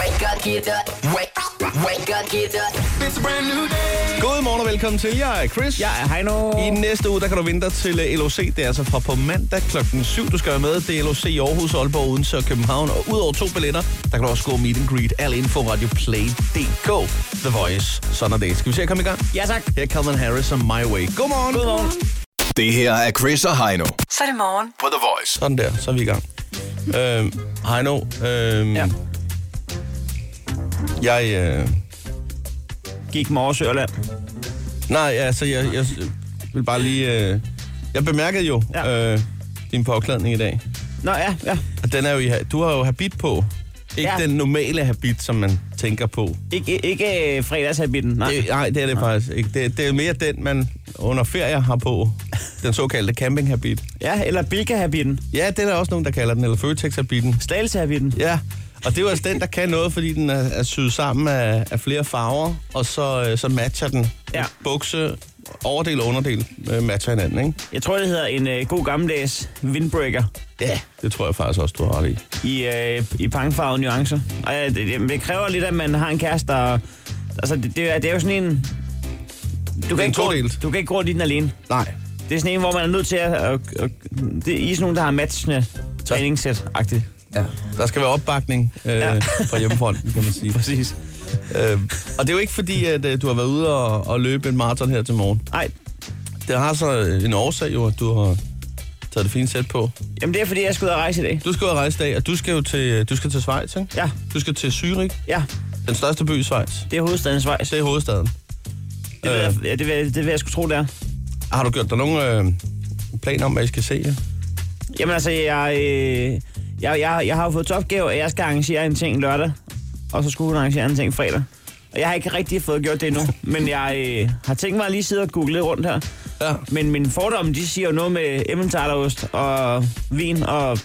Wake up, get up. Wake, wake up, get up. It's a brand new day. Godmorgen og velkommen til. Jeg er Chris. Jeg er Heino. I næste uge, der kan du vente dig til øh, LOC. Det er altså fra på mandag kl. 7, du skal være med. Det er LOC i Aarhus, Aalborg, Odense og København. Og udover to billetter, der kan du også gå meet and greet. Al info, radioplay.dk. The Voice. Sådan er det. Skal vi se at komme i gang? Ja tak. Her er Calvin Harris og My Way. Godmorgen. Godmorgen. Det her er Chris og Heino Så er det morgen. på The Voice. Sådan der, så er vi i gang. Øhm, Heino, øhm, ja. Ja. jeg... Øh, Gik Mors Ørland. nej, altså, jeg, jeg vil bare lige... Øh, jeg bemærkede jo Ja. øh, din påklædning i dag. Nå ja, ja. Og den er jo i, ha- du har jo habit på. Ikke ja. Ja. den normale habit, som man tænker på. Ikke, ikke øh, fredagshabitten, nej. Det, nej, det er det faktisk ikke. Det, det er mere den, man under ferie har på. Den såkaldte campinghabit. Ja, eller Bilka-habitten. Ja, det er der også nogen, der kalder den, eller Føtex-habiten. Slagelse-habitten. Ja, og det er jo altså den, der kan noget, fordi den er, er syet sammen af, af flere farver, og så, øh, så matcher den. Ja. Bukse, overdel og underdel øh, matcher hinanden, ikke? Jeg tror, det hedder en øh, god gammeldags windbreaker Ja. Det tror jeg faktisk også, du har ret i. i, øh, i pangfarvede nuancer. Og øh, det, det, det kræver lidt, at man har en kæreste, der... Altså, det, det, er, det er jo sådan en... Du en kan, ikke gå, todelt. du kan ikke gå i den alene. Nej. Det er sådan en, hvor man er nødt til at... at, at det er i sådan nogle, der har matchende træningssæt-agtigt. Ja. Der skal være opbakning øh, ja. Ja. fra hjemmefronten, kan man sige. Præcis. Øh, og det er jo ikke fordi, at øh, du har været ude og, og løbe en maraton her til morgen. Nej, Det har så øh, en årsag jo, at du har taget det fine sæt på. jamen det er, fordi jeg skal ud og rejse i dag. Du skal ud og rejse i dag, og du skal jo til, øh, du skal til Schweiz, ikke? Ja, Du skal til Zürich, ja. den største by i Schweiz. Det er hovedstadens Schweiz. Det er hovedstaden. Øh, Det vil, Øhm. jeg, ja, det, vil, jeg- det vil jeg sgu tro, det er. Har du gjort dig nogen øh, planer om, hvad I skal se? Ja? Jamen altså, jeg, øh, jeg, jeg, jeg har jo fået til opgave, at jeg skal arrangere en ting lørdag, og så skulle hun arrangere en ting fredag. Og jeg har ikke rigtig fået gjort det endnu, men jeg øh, har tænkt mig at lige sidde og google lidt rundt her. Ja. Men mine fordomme, de siger jo noget med emmentalerøst og vin, og Og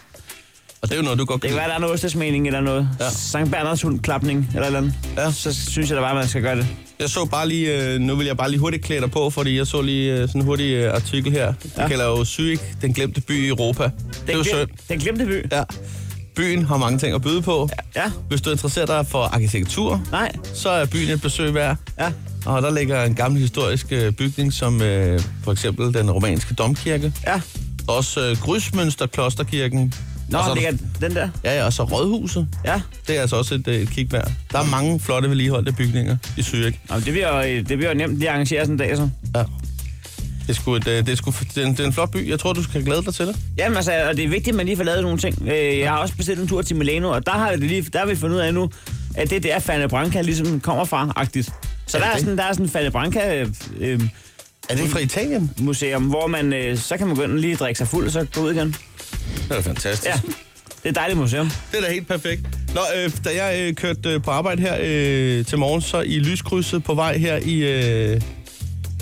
det er jo noget, du godt det kan kan være, der er noget ostesmening eller noget. Ja. Ja. Sankt Berners hundklapning eller et eller andet. Ja. Så synes jeg da bare, man skal gøre det. Jeg så bare lige, øh, nu vil jeg bare lige hurtigt klæde dig på, fordi jeg så lige øh, sådan en hurtig øh, artikel her. Det ja. Ja. kalder jo Zürich, den glemte by i Europa. det er jo glem- synd. Den glemte by. Ja. Byen har mange ting at byde på. Ja. Hvis du interesserer dig for arkitektur, Nej. så er byen et besøg værd. Ja. Og der ligger en gammel historisk øh, bygning, som øh, for eksempel den romanske domkirke. Ja. Også øh, Grysmønster Klosterkirken. Nå, og så, er det der- er den der. Ja, ja, og så Rådhuset. Ja. Det er altså også et, øh, et kig værd. Der er mange flotte vedligeholdte bygninger i Zürich. Nå, men det bliver, øh, det bliver nemt, at de arrangerer sådan en dag, så. Ja. Det er, sgu et, øh, det, er sgu, det, er en, det er en flot by. Jeg tror, du skal glæde dig til det. Jamen altså, og det er vigtigt, at man lige får lavet nogle ting. Øh, jeg har også bestilt en tur til Milano, og der har, det lige, der har vi fundet ud af nu, at det er der, Fanny Branca ligesom kommer fra, agtigt. Så Er der det er, det? sådan, der er sådan en Fanny Branca øh, øh, Er det fra Italien? museum, hvor man, øh, så kan man gå ind og lige drikke sig fuld, og så gå ud igen. Det er da fantastisk. Ja, det er et dejligt museum. Det er da helt perfekt. Nå, øh, da jeg øh, kørte øh, på arbejde her øh, til morgen, så i lyskrydset på vej her i... Øh,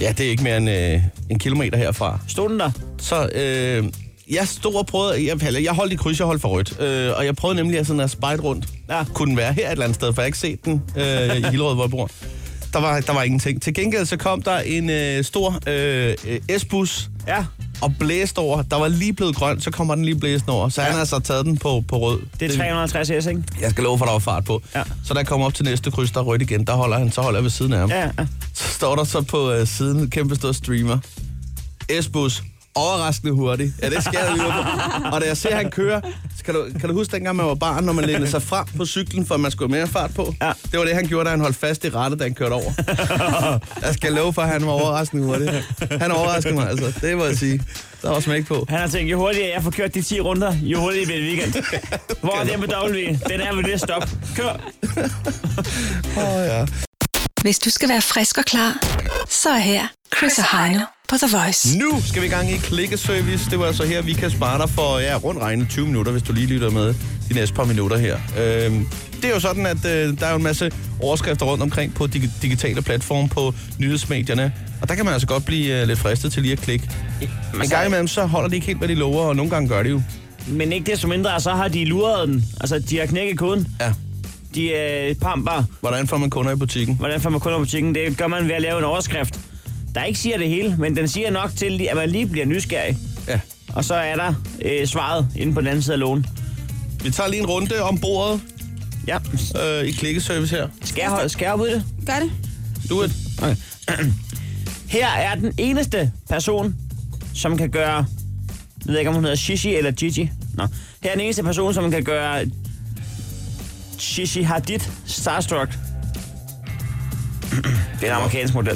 ja, det er ikke mere end øh, en kilometer herfra. Stod den der? Så øh, jeg stod og prøvede... Jeg, eller jeg holdt i kryds, jeg holdt for rødt. Øh, og jeg prøvede nemlig at, sådan at spejde rundt. Ja. Kunne den være her et eller andet sted, for jeg har ikke set den øh, i Hillerød, hvor jeg bor. Der var, der var ingenting. Til gengæld så kom der en øh, stor øh, øh, S-bus Ja, og blæste over. Der var lige blevet grøn, så kommer den lige blæsende over. Så ja. han har så taget den på, på rød. det er 360 S, ikke? Jeg skal love for, at der var fart på. Ja. Så da jeg kommer op til næste kryds, der er rødt igen, der holder han, så holder jeg ved siden af ham. Ja, ja. Så står der så på øh, siden en kæmpe stor streamer. Esbus, overraskende hurtig. Ja, det skal jeg lige på. Og da jeg ser, han kører, så kan du, kan du huske dengang, man var barn, når man lænede sig frem på cyklen, for at man skulle have mere fart på? Ja. Det var det, han gjorde, da han holdt fast i rattet, da han kørte over. jeg skal love for, at han var overraskende hurtig. Han overraskede mig, altså. Det må jeg sige. Der var smæk på. Han har tænkt, jo hurtigere jeg får kørt de 10 runder, jo hurtigere bliver det weekend. Hvor er det med W? Den er ved det stop. Kør! Åh, oh, ja. Hvis du skal være frisk og klar, så er her Chris og Heino på The Voice. Nu skal vi i gang i klikkeservice. Det var altså her, vi kan spare dig for ja, rundt regnet 20 minutter, hvis du lige lytter med de næste par minutter her. Øhm, det er jo sådan, at øh, der er jo en masse overskrifter rundt omkring på dig- digitale platforme, på nyhedsmedierne. Og der kan man altså godt blive øh, lidt fristet til lige at klikke. En gang imellem, så holder de ikke helt, hvad de lover, og nogle gange gør de jo. Men ikke desto mindre, så har de luret den. Altså, de har knækket koden. Ja. De er pamper. Hvordan får man kunder i butikken? Hvordan får man kunder på butikken? Det gør man ved at lave en overskrift, der ikke siger det hele, men den siger nok til, at man lige bliver nysgerrig. Ja. Og så er der øh, svaret inde på den anden side af lågen. Vi tager lige en runde om bordet. Ja. øh, i klikkeservice her. Skal jeg, holde- skal jeg op ud i det? Gør det. Du er... Okay. Her er den eneste person, som kan gøre... Jeg ved ikke, om hun hedder Shishi eller Gigi. Nå. Her er den eneste person, som kan gøre... Shishi Hadid Starstruck. Det er en amerikansk model.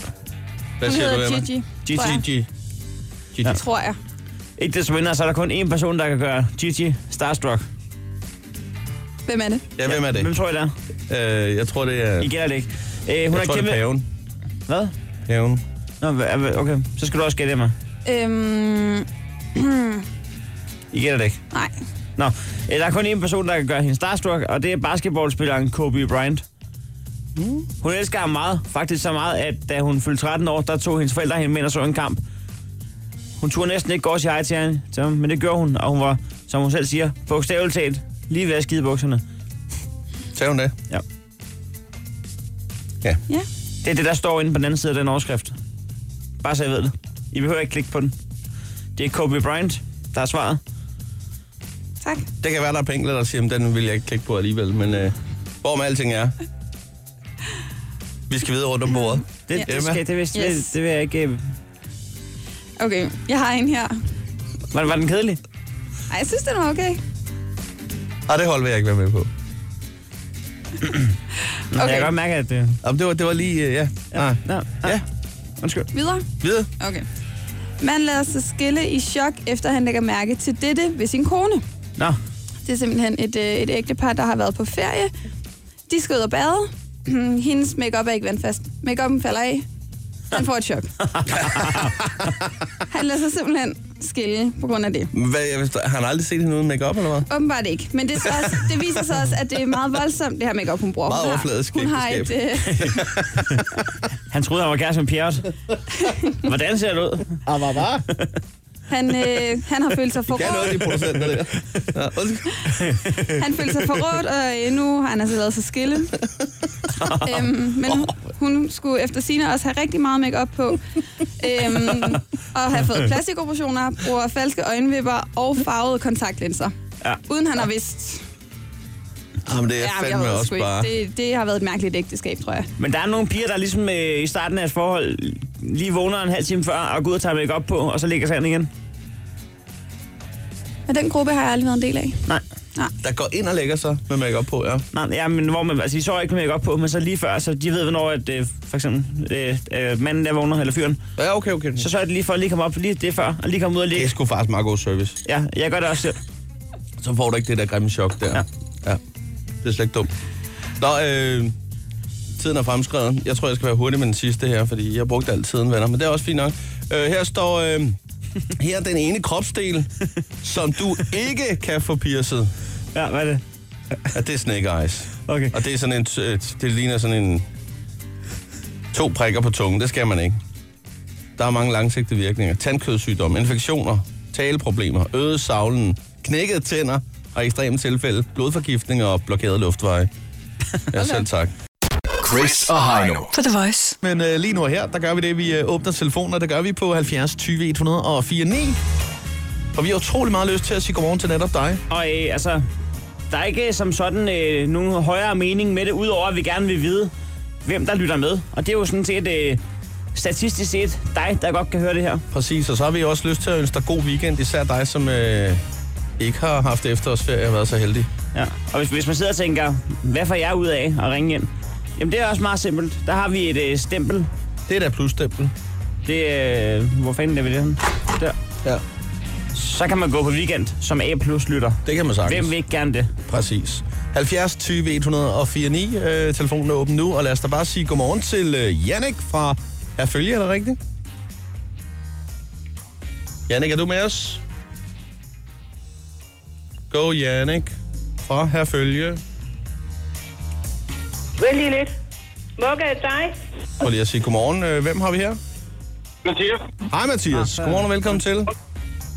Hvad Hun siger du, hedder Emma? Gigi. Gigi, tror jeg. Gigi. Gigi. Ja. Tror jeg. Ikke desto mindre, så er der kun én person, der kan gøre Gigi Starstruck. Hvem er det? Ja, hvem er det? Hvem tror I, det er? Øh, jeg tror, det er... I Jeg gælder det ikke. Øh, hun tror, er det er kæmpe... paven. Hvad? Paven. Nå, hva- hva- okay. Så skal du også gætte mig. Øhm, I gælder det ikke. nej. Nå, øh, der er kun én person, der kan gøre hende starstruck, og det er basketballspilleren Kobe Bryant. Mm. Hun elsker ham meget, faktisk så meget, at da hun fyldte 13 år, der tog hendes forældre hende med ind og så en kamp. Hun turde næsten ikke gå og sige hej til hende, til ham, men det gjorde hun, og hun var, som hun selv siger, bogstaveligt talt lige ved at skide i bukserne. Sagde hun det? Ja. Ja. Det er det, der står inde på den anden side af den overskrift. Bare så jeg ved det. I behøver ikke klikke på den. Det er Kobe Bryant, der er svaret. Tak. Det kan være, der er pengler, der siger, at den vil jeg ikke klikke på alligevel, men øh, hvor med alting er. Vi skal videre rundt om bordet. Det, Ja. ja. det, skal, det, vil, yes. Yes. det, det vil jeg ikke... øh, Okay, jeg har en her. Var, var den kedelig? Ej, jeg synes, den var okay. Ah, det hold vil jeg ikke være med på. Okay. Jeg Okay. kan godt mærke, at... Øh, Jamen, det var, det var lige, øh, ja. Nej. Nå, Ja, undskyld. Videre. videre. Okay. Mand lader sig skille i chok, efter han lægger mærke til dette ved sin kone. Nå, Det er simpelthen et, øh, et ægtepar, der har været på ferie. De skal ud og bade. Hendes makeup er ikke vandfast. Makeupen falder af. Han får et chok. han lader sig simpelthen skille på grund af det. Hvad, jeg vidste, har han aldrig set hende uden makeup eller hvad? Åbenbart ikke. Men det, er så også, det viser sig også, at det er meget voldsomt, det her makeup hun bruger. Meget hun overfladisk Har, hun har et, ægteskab. øh, han troede, han var kæreste med Pierre. Hvordan ser det ud? Ah, hvad var? han, øh, han har følt sig Kan noget, de forrådt. producenter der? Ja, undskyld. Han følte sig forrådt, og øh, nu har han altså lavet sig skille. øhm, men hun, hun skulle efter sine også have rigtig meget makeup på. Øhm, og have fået plastikoperationer, bruger falske øjenvipper og farvede kontaktlinser. Ja. Uden han har vidst. Jamen, det er Jamen, fandme ved det også sgu ikke. bare... Det, det har været et mærkeligt ægteskab, tror jeg. Men der er nogle piger, der ligesom øh, i starten af deres forhold lige vågner en halv time før og går ud og tager make op på, og så ligger sig ind igen. Men den gruppe har jeg aldrig været en del af. Nej. Der går ind og lægger sig med makeup på, ja. Nej, ja, men hvor man, altså, de så ikke med make op på, men så lige før, så de ved, hvornår at, øh, for eksempel øh, øh, manden der vågner, eller fyren, Ja, okay, okay. så sørger de lige for at lige komme op lige det før, og lige komme ud og Det er ligge. sgu faktisk meget god service. Ja, jeg gør det også selv. Så får du ikke det der grimme chok der. Ja. ja. Det er slet ikke dumt. Nå, øh, tiden er fremskreden. Jeg tror, jeg skal være hurtig med den sidste her, fordi jeg har brugt al tiden, venner. Men det er også fint nok. Øh, her står... Øh, her er den ene kropsdel, som du ikke kan få pierced. Ja, hvad er det? Ja, det er snake eyes. Okay. Og det er sådan en... øh, Det ligner sådan en... To prikker på tungen. Det skal man ikke. Der er mange langsigtede virkninger. Tandkødsygdom, infektioner, taleproblemer, øget savlen, knækkede tænder og i ekstreme tilfælde blodforgiftninger og blokerede luftveje. Ja, selv tak. Chris og Heino. På The Voice. Men øh, lige nu og her, der gør vi det, vi øh, åbner telefoner, der gør vi på 70 20 104 9. Og vi har utrolig meget lyst til at sige godmorgen til netop dig. Og øh, altså, der er ikke øh, som sådan øh, nogen højere mening med det, udover at vi gerne vil vide, hvem der lytter med. Og det er jo sådan set øh, statistisk set dig, der godt kan høre det her. Præcis, og så har vi også lyst til at ønske dig god weekend, især dig, som øh, ikke har haft efterårsferie og været så heldig. Ja. Og hvis, hvis man sidder og tænker, hvad får jeg ud af at ringe ind? Jamen det er også meget simpelt. Der har vi et øh, stempel. Det er da plusstempel. Det øh, hvor fanden er vi det henne? Der. Ja. Så kan man gå på weekend som A+, lytter. Det kan man sagtens. Hvem vil ikke gerne det? Præcis. 70 20 104 9. Øh, telefonen er åben nu, og lad os da bare sige godmorgen til øh, Jannik fra Herfølge, er det rigtigt? Jannik, er du med os? Go Jannik fra Herfølge. Vent lige lidt. Mokka er dig. Prøv lige at sige godmorgen. Øh, Hvem har vi her? Mathias. Hej Mathias. Godmorgen og velkommen til.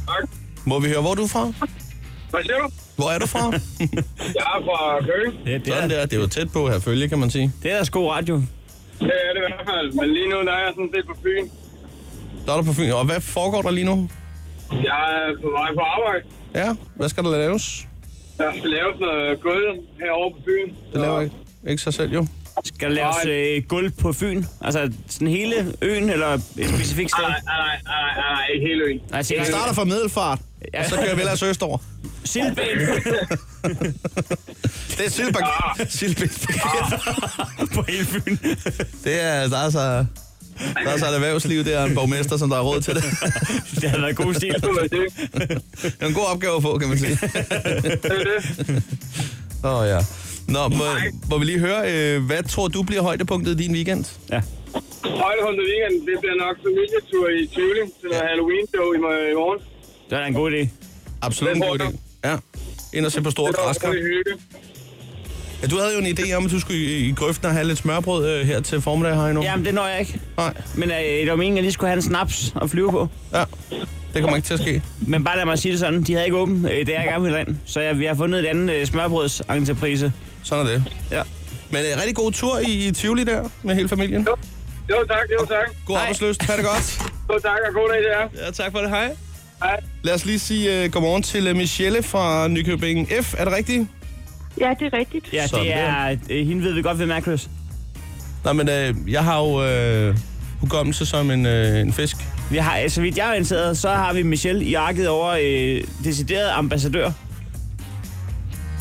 Tak. Må vi høre, hvor er du fra? Hvad siger du? Hvor er du fra? Jeg er fra Køge. Det, det, Sådan er, der, det var tæt på Herfølge, kan man sige. det er da sko radio. Det er det i hvert fald. Men lige nu der er jeg sådan set på Fyn. Der er du på Fyn. Og hvad foregår der lige nu? Jeg er på vej på arbejde. Ja, hvad skal der laves? Der skal laves noget gulv herovre på byen. Det laver ikke, ikke sig selv, jo. Skal der laves Nej. øh, gulv på Fyn? Altså sådan hele øen, eller et specifikt sted? Nej, nej, nej, nej, nej, nej, ikke hele øen. Altså, Vi starter fra middelfart, Ja. og så kører vi ellers østover. Sildben Det er Silbak. Ah. Silbak. på hele Fyn. Det er, altså- der er så... Der er så et erhvervsliv, det er en borgmester, som der er råd til det. det havde været god stil. Det var det. Det er en god opgave at få, kan man sige. Det er det. Åh oh, ja. Nå, må, må vi lige høre, øh, hvad tror du bliver højdepunktet i din weekend? Ja. Højdeholdet weekend, det bliver nok familietur i Tivoli til noget Halloween-show i mor- i morgen. Det var da en god idé. Absolut en god idé. Ja. Ind og se på store Det er også græskar. rigtig hygge. Ja, du havde jo en idé om, at du skulle i, i grøften og have lidt smørbrød øh, her til formiddag, Heino. Jamen, det når jeg ikke. Nej. Men øh, det var meningen, at jeg lige skulle have en snaps og flyve på. Ja. Det kommer ikke til at ske. Men bare lad mig sige det sådan. De havde ikke åbent, øh, det er jeg gerne ville ind. Så jeg, vi har fundet et andet øh, smørbrødsentreprise. Sådan er det. Ja. Men øh, rigtig god tur i, i Tivoli der med hele familien. Jo tak, jo tak. God arbejdsløst. Ha' det godt. Jo tak, og god dag til jer. Ja, tak for det. Hej. Hej. Lad os lige sige uh, godmorgen til uh, Michelle fra Nykøbing F. Er det rigtigt? Ja, det er rigtigt. Ja, Sådan det er... Øh, hende ved vi godt, hvem er, Chris. Nej, men uh, jeg har jo uh, hukommelse som en, uh, en fisk. Vi har, øh, så vidt jeg er orienteret, så har vi Michelle i arket over øh, decideret ambassadør.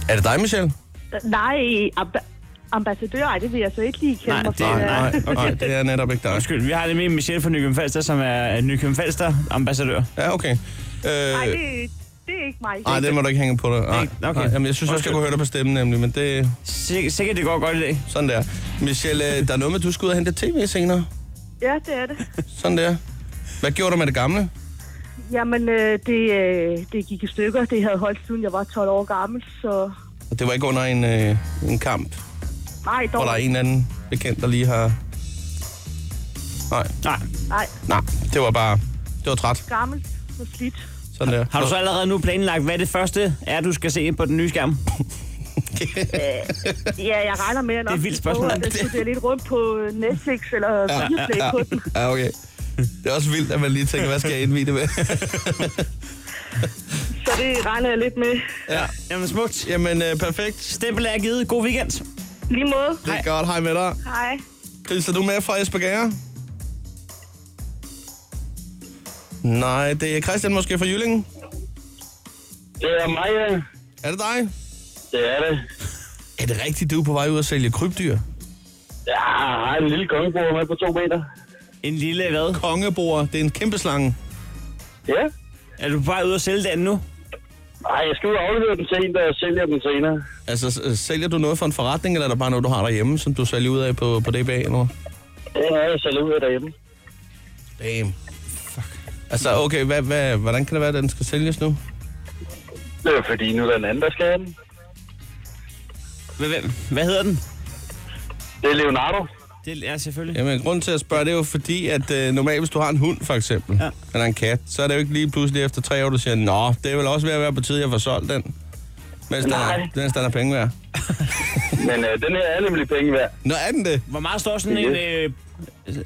Er det dig, Michelle? Nej, amb- ambassadør, ej, det vil jeg så ikke lige kende Nej, mig det- for. nej. nej, nej, det er netop ikke dig. Undskyld, vi har nemlig Michelle fra Nykøbing Falster, som er Nykøbing Falster ambassadør. Ja, okay. Uh, Nej, nej, det, det er ikke mig. det må du ikke hænge på dig. Nej, Ikke? okay. Okay. nej. Jamen, jeg synes også, Undskyld. jeg kunne høre dig på stemmen, nemlig, men det Sik- Sikkert det går godt i dag. sådan der. Michelle, øh, der er noget med, at du skal ud og hente tv senere. Ja, det er det. Sådan der. Hvad gjorde du med det gamle? Jamen, øh, det, øh, det gik i stykker. Det havde holdt siden jeg var 12 år gammel, så... Og Det var ikke under en, øh, en kamp, Nej, hvor dog. der er en eller anden bekendt, der lige har... Nej, Nej. Nej, nej, det var bare... Det var træt. gammelt og slidt. Sådan der. Har du så allerede nu planlagt, hvad det første er, du skal se på den nye skærm? Ja, jeg regner med, at nok Det er et vildt skal prøve spørgsmål. at studere lidt rundt på øh, Netflix eller Viaplay ja, ja, ja. på den. Ja, okay. Det er også vildt, at man lige tænker, hvad skal jeg indvide det med? Så det regner jeg lidt med. ja. Jamen smukt. Jamen, øh, perfekt. Stempel er givet. God weekend. Lige måde. Det er godt. Hej med dig. Hej. Chris, er du med fra Esbjerg? Nej, det er Christian måske fra Jylling. Det er mig, ja. Er det dig? Det er det. Er det rigtigt, du er på vej ud og sælge krybdyr? Jeg har en lille kongebord med på to meter. En lille hvad? Kongebord, det er en kæmpe slange. Ja. Er du bare ude og sælge den nu? Ej, jeg skal ud og aflevere den til en, der sælger den senere. Altså, s- sælger du noget for en forretning, eller er der bare noget, du har derhjemme, som du sælger ud af på, på DBA eller noget? Det er jeg sælger ud af derhjemme. Damn. Fuck. Altså, okay, hvad, hvad, hvordan kan det være, at den skal sælges nu? Det er fordi, nu er der en anden, der skal have den. Hvad, hvad, hvad hedder den? Det er Leonardo. Det er selvfølgelig. Jamen, grund til at spørge, det er jo fordi, at øh, normalt, hvis du har en hund, for eksempel, ja. Ja. eller en kat, så er det jo ikke lige pludselig efter tre år, du siger, nå, det er vel også ved at være på tide, jeg får solgt den, mens, den er, Nej. mens den er penge værd. Men øh, den her er nemlig penge værd. Nå, er den det? Hvor meget står sådan en, øh,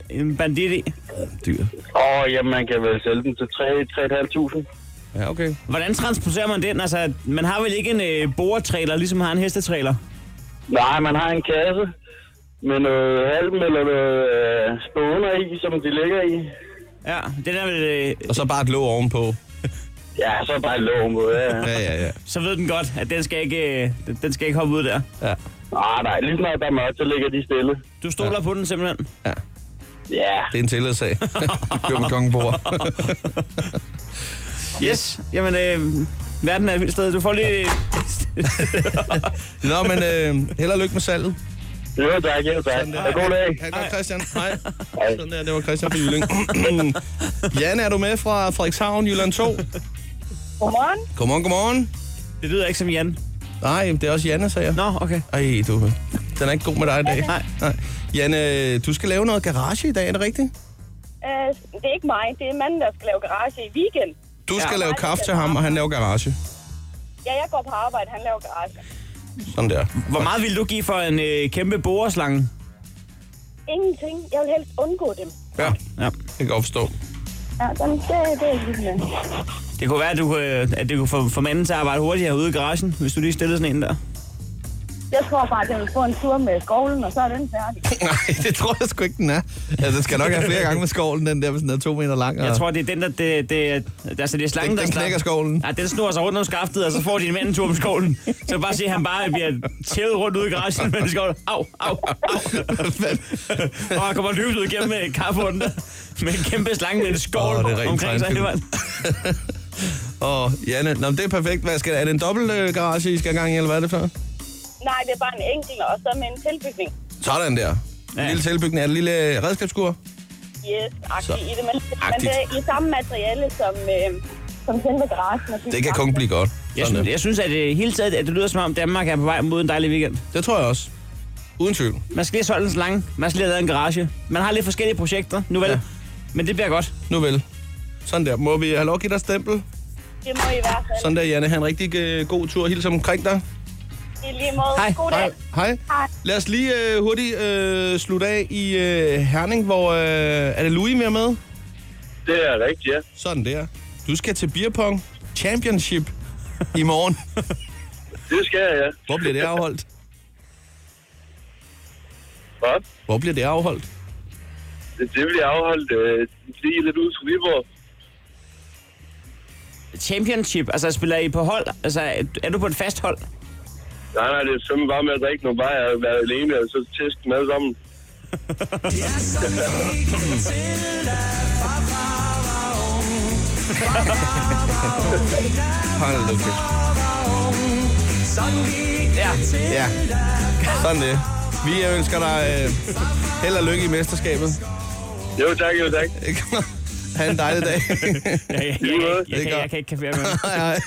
en bandit i? Dyr. Åh, jamen, man kan vel sælge den til 3-3.500. Ja, okay. Hvordan transporterer man den? Altså, man har vel ikke en øh, boretrailer, ligesom man har en hestetrailer? Nej, man har en kasse med noget halm eller noget øh, spåner i, som de ligger i. Ja, den er vel... Øh, Og så bare et låg ovenpå. Ja, så er bare lov mod, ja. Ja, ja, ja. så ved den godt, at den skal ikke, øh, den- den skal ikke hoppe ud der. ja. Ah, nej, lige snart der er mørkt, så ligger de stille. Du stoler ja. på den simpelthen. Ja, Det er en tillidssag. Køb med kongebord. Yes. Jamen, øh, verden er et vildt sted. Du får lige... Nå, men øh, held og lykke med salget. jo tak, jo tak. Sådan der. Og god dag. Ha' det godt, Christian. Hej. Sådan der, det var Christian fra Jylling. Jan, er du med fra Frederikshavn, Jylland 2? Godmorgen. Godmorgen, godmorgen. Det lyder ikke som Jan. Nej, det er også Janne, sagde jeg. Nå, okay. Ej, du. Den er ikke god med dig i dag. Nej. Nej. Janne, du skal lave noget garage i dag, er det rigtigt? Øh, det er ikke mig. Det er manden, der skal lave garage i weekend. Du skal Ja. ja. lave kaffe til ham, og han laver garage. Ja, jeg går på arbejde. Han laver garage. Sådan der. Hvor meget vil du give for en øh, kæmpe boreslange? Ingenting. Jeg vil helst undgå dem. Ja, Ja. det kan jeg godt forstå. Ja, dem, det, det er hyggeligt. Det kunne være, at du, kunne, øh, at det kunne få, få manden til at arbejde hurtigere ude i garagen, hvis du lige stillede sådan en der. Jeg tror bare, at jeg vil få en tur med skovlen, og så er den færdig. Nej, det tror jeg sgu ikke, den er. Altså, den skal nok have flere gange med skovlen, den der, hvis den er to meter lang. Og... Jeg tror, det er den, der... Det, det, altså, det er slangen, Den- der den snak- knækker skovlen. Ja, den snor sig rundt om skaftet, og så får din mand en tur på skovlen. Så bare se, at han bare bliver tævet rundt ude i garagen med skovlen. Au, au, au. og han kommer løbet ud igennem med kaffehunden der. Med en kæmpe slange med en skovl Åh, det er oh, rent omkring sig. tegnefilm. mand. Og Janne, nå, men det er perfekt. Hvad skal, er det en dobbelt øh, garage, I skal have gang i, eller hvad er det for? Nej, det er bare en enkelt, og så med en tilbygning. Sådan der. En Ja. lille tilbygning af en lille øh, redskabsskur. Yes, agtigt Så, i det. Men, men agtigt. det er i samme materiale, som, øh, som selve garagen. og Det kan kun blive godt. Jeg Sådan synes, der. jeg synes, at det hele taget, at det lyder som om Danmark er på vej mod en dejlig weekend. Det tror jeg også. Uden tvivl. Man skal lige have solgt en slange. Man skal lige have lavet en garage. Man har lidt forskellige projekter, nu vel. Ja. Ja. Men det bliver godt. Nu vel. Sådan der. Må vi have lov at give dig et stempel? Det må i hvert fald. Sådan der, Janne. Ha' en rigtig øh, god tur. Hils omkring dig. I lige måde. Hej. God dag. Hej. Hej. Hej. Lad os lige øh, hurtigt øh, slutte af i øh, Herning, hvor... Øh, er det Louis mere med? Det er rigtigt, ja. Sådan der. Du skal til Beer Pong Championship i morgen. Det skal jeg, ja. Hvor bliver det afholdt? Godt. Hvor bliver det afholdt? Det, det bliver afholdt øh, lige lidt ud til Viborg. Championship, altså spiller I på hold? Altså, er- er du på et fast hold? Nej, nej, det er simpelthen bare med at drikke nogle bajer og være alene, og så teste dem alle sammen. Hold da kæft. Ja. Ja, sådan det. Vi ønsker dig øh, held og lykke i mesterskabet. Jo, tak, jo, tak. Ikke? ha' en dejlig dag. Jeg, jeg, jeg, Lige måde. jeg, jeg, Det er kan, jeg godt. kan ikke kaffe med. Hej, hej.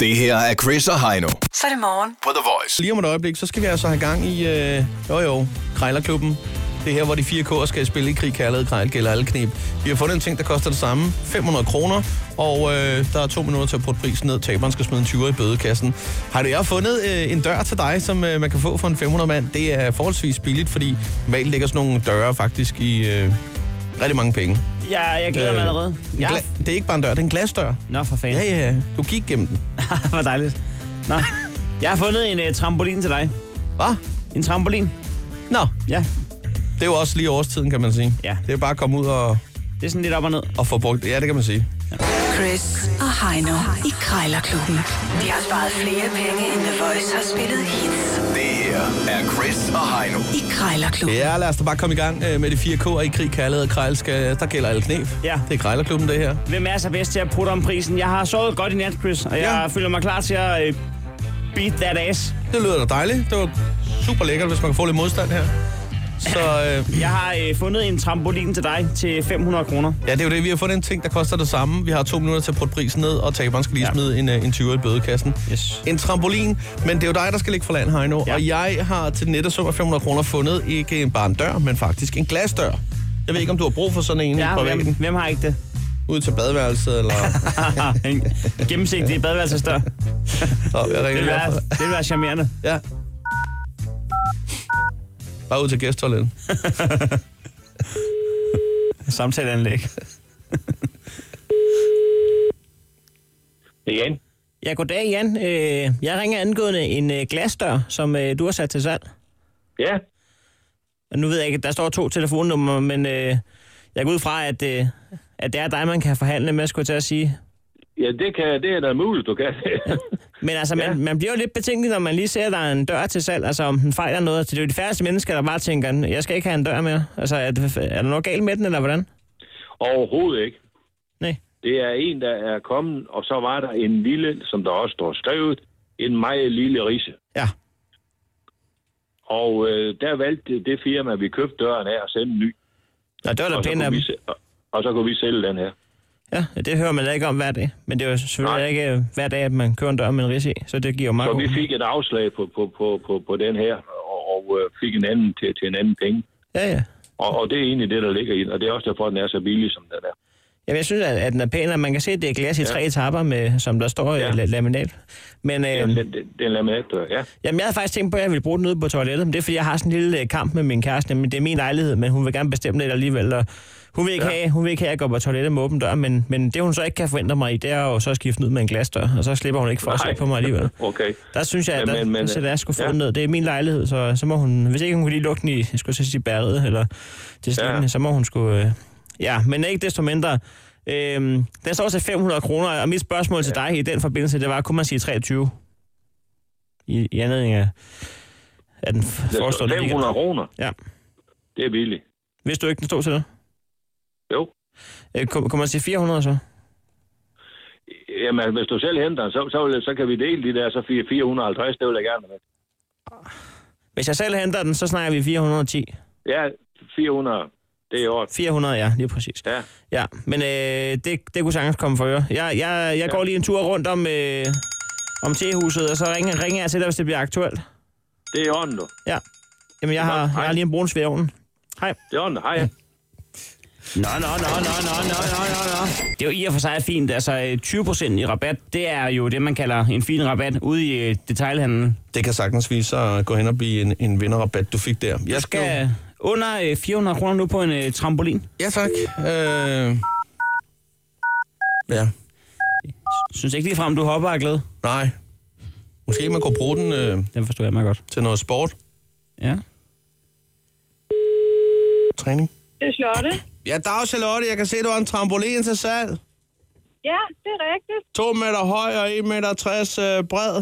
Det her er Chris og Heino Så er det morgen. på The Voice. Lige om et øjeblik, så skal vi altså have gang i, øh, jo jo, Krejlerklubben. Det er her, hvor de fire k'er skal spille i krig, kærlighed, krejl, gælder alle knep. Vi har fundet en ting, der koster det samme. 500 kroner, og øh, der er to minutter til at putte prisen ned. Taberen skal smide en 20'er i bødekassen. Har du jeg har fundet øh, en dør til dig, som øh, man kan få for en 500 mand? Det er forholdsvis billigt, fordi normalt ligger sådan nogle døre faktisk i øh, rigtig mange penge. Ja, jeg glæder mig Øh, allerede. En Ja. Gla- det er ikke bare en dør, det er en glasdør. Nå, for fanden. Ja, Hey. ja, du gik gennem den. Hvor dejligt. Nå. Jeg har fundet en uh, trampolin til dig. Hvad? En trampolin? Nå, Ja. det er jo også lige årstiden, kan man sige. Ja. Det er bare at komme ud og, Det er sådan lidt op og ned. og få brugt. Ja, det kan man sige. Chris og Heino i Krejlerklubben. De har sparet flere penge, end The Voice har spillet hits Det her er Chris og Heino. i Krejlerklubben. Ja, lad os da bare komme i gang øh, med de fire K'er i krig, kærlighed og krejl. Skal, der gælder alle knep. Ja. Det er krejlerklubben, det her. Hvem er så bedst til at putte om prisen? Jeg har sovet godt i nat, Chris, og jeg Ja. føler mig klar til at uh, beat that ass. Det lyder da dejligt. Det var super lækkert, hvis man kan få lidt modstand her. Så øh, Jeg har uh, fundet en trampolin til dig til 500 kroner. ja, det er jo det. Vi har fundet en ting, der koster det samme. Vi har to minutter til at putte prisen ned, og taberen skal lige Ja. smide en, øh, en 20 i bødekassen. Yes. En trampolin, men det er jo dig, der skal ligge for land, Heino. Ja. Ja. Og jeg har til den nette sum af 500 kroner fundet ikke en bare en dør, men faktisk en glasdør. Jeg ved ikke, om du har brug for sådan en ja, på Ja, hvem, væggen. hvem har ikke det? Ud til badeværelset, eller... Haha, en gennemsigtig badeværelsesdør. Det Nå, jeg ringer vil lige være, op. det vil være charmerende. Ja. Bare ud til gæsttoilettet. Samtaleanlæg. Det er Jan. Ja, goddag Jan. Øh, Jeg ringer angående en øh, glasdør, som øh, du har sat til salg. Ja, Og Nu ved jeg ikke, der står to telefonnumre, men øh, jeg går ud fra, at, øh, at det er dig, man kan forhandle med, skulle jeg til at sige. ja det, kan, det er da muligt, du kan. Men altså, man, ja. Ja. man bliver jo lidt betænkelig, når man lige ser, at der er en dør til salg, altså om den fejler noget. Så det er jo de færreste mennesker, der bare tænker, jeg skal ikke have en dør mere. Altså, er, det, er der noget galt med den, eller hvordan? Overhovedet ikke. Nej. Det er en, der er kommet, og så var der en lille, som der også står skrevet, en meget lille risse. Ja. Og øh, der valgte det firma, vi købte døren af, at sende en ny. Nå, det var da Og så, pænt af kunne dem. vi, se- og, og så kunne vi sælge den her. Ja, det hører man da ikke om hver dag. Men det er jo selvfølgelig Nej. ikke øh, hver dag, at man kører en dør med en ris i, så det giver jo meget Så god vi mening. fik et afslag på, på, på, på, på den her, og, og øh, fik en anden til, til en anden penge. Ja, ja. Og, og det er egentlig det, der ligger i den, og det er også derfor, den er så billig, som den er. Jamen, jeg synes, at, at den er pæn, og man kan se, at det er glas i tre etapper, med, som der står ja. Ja. laminat. Men øh, Jamen, det, det, det er en laminatdør, ja. jamen, jeg havde faktisk tænkt på, at jeg ville bruge den ude på toilettet, men det er, fordi jeg har sådan en lille øh, kamp med min kæreste. Men det er min lejlighed, men hun vil gerne bestemme det alligevel. Og hun, vil ikke ja. have, hun vil ikke have, at jeg går på toilettet med åben dør, men, men det, hun så ikke kan forvente mig i, det er jo så at skifte den ud med en glasdør, og så slipper hun ikke for at se Nej. på mig alligevel. Okay. Der synes jeg, at Ja, der, men- men, men, så øh, der jeg skulle få ja. den ned. Det er min lejlighed, så, så må hun... Hvis ikke hun kunne lige lukke den i, jeg skulle til at sige bæret, eller til slingen, ja. så må hun skulle... Øh, ja, men ikke desto mindre. Øhm, den står til 500 kroner, og mit spørgsmål ja. til dig i den forbindelse, det var, kunne man sige 23? I, i anledning af, af den Det er forestående weekend. 500 kroner. Ja. Det er billigt. Hvis du ikke den stod til det. Jo. Øh, kunne, kunne man sige 400 så? Jamen, altså, hvis du selv henter den, så, så, vil, jeg- så kan vi dele de der, så 4- 450, det vil jeg gerne have med. Hvis jeg selv henter den, så snakker vi 410. Ja, 400, det er i orden. 400, ja, lige præcis. Ja, Ja, men øh, det, det kunne sagtens komme for øre. Jeg, jeg, jeg går lige en tur rundt om, øh, om tehuset, og så ringer, ringer jeg til dig, hvis det bliver aktuelt. det er i orden, du. Ja. Jamen, jeg har, jeg har lige en brun svær i ovnen. Hej. Det er i orden, hej. Nå, nå, nå, nå, nå, nå, nå, nå, nå. Det er jo i og for sig fint. Altså, øh, 20% i rabat, det er jo det, man kalder en fin rabat ude i øh, detailhandlen. Det kan sagtens vise sig at gå hen og blive en, en vinderrabat, du fik der. Jeg Skal under øh, 400 kroner nu på en øh, trampolin. Ja, tak. Øh... Ja. Synes ikke ligefrem, du hopper af glæde. Nej. Måske man kunne bruge den øh, Den forstår jeg meget godt. til noget sport, Ja. træning. Det er Charlotte. Ja, dag Charlotte, jeg kan se, du har en trampolin til salg. Ja, det er rigtigt. To meter høj og 1,60 meter øh, bred.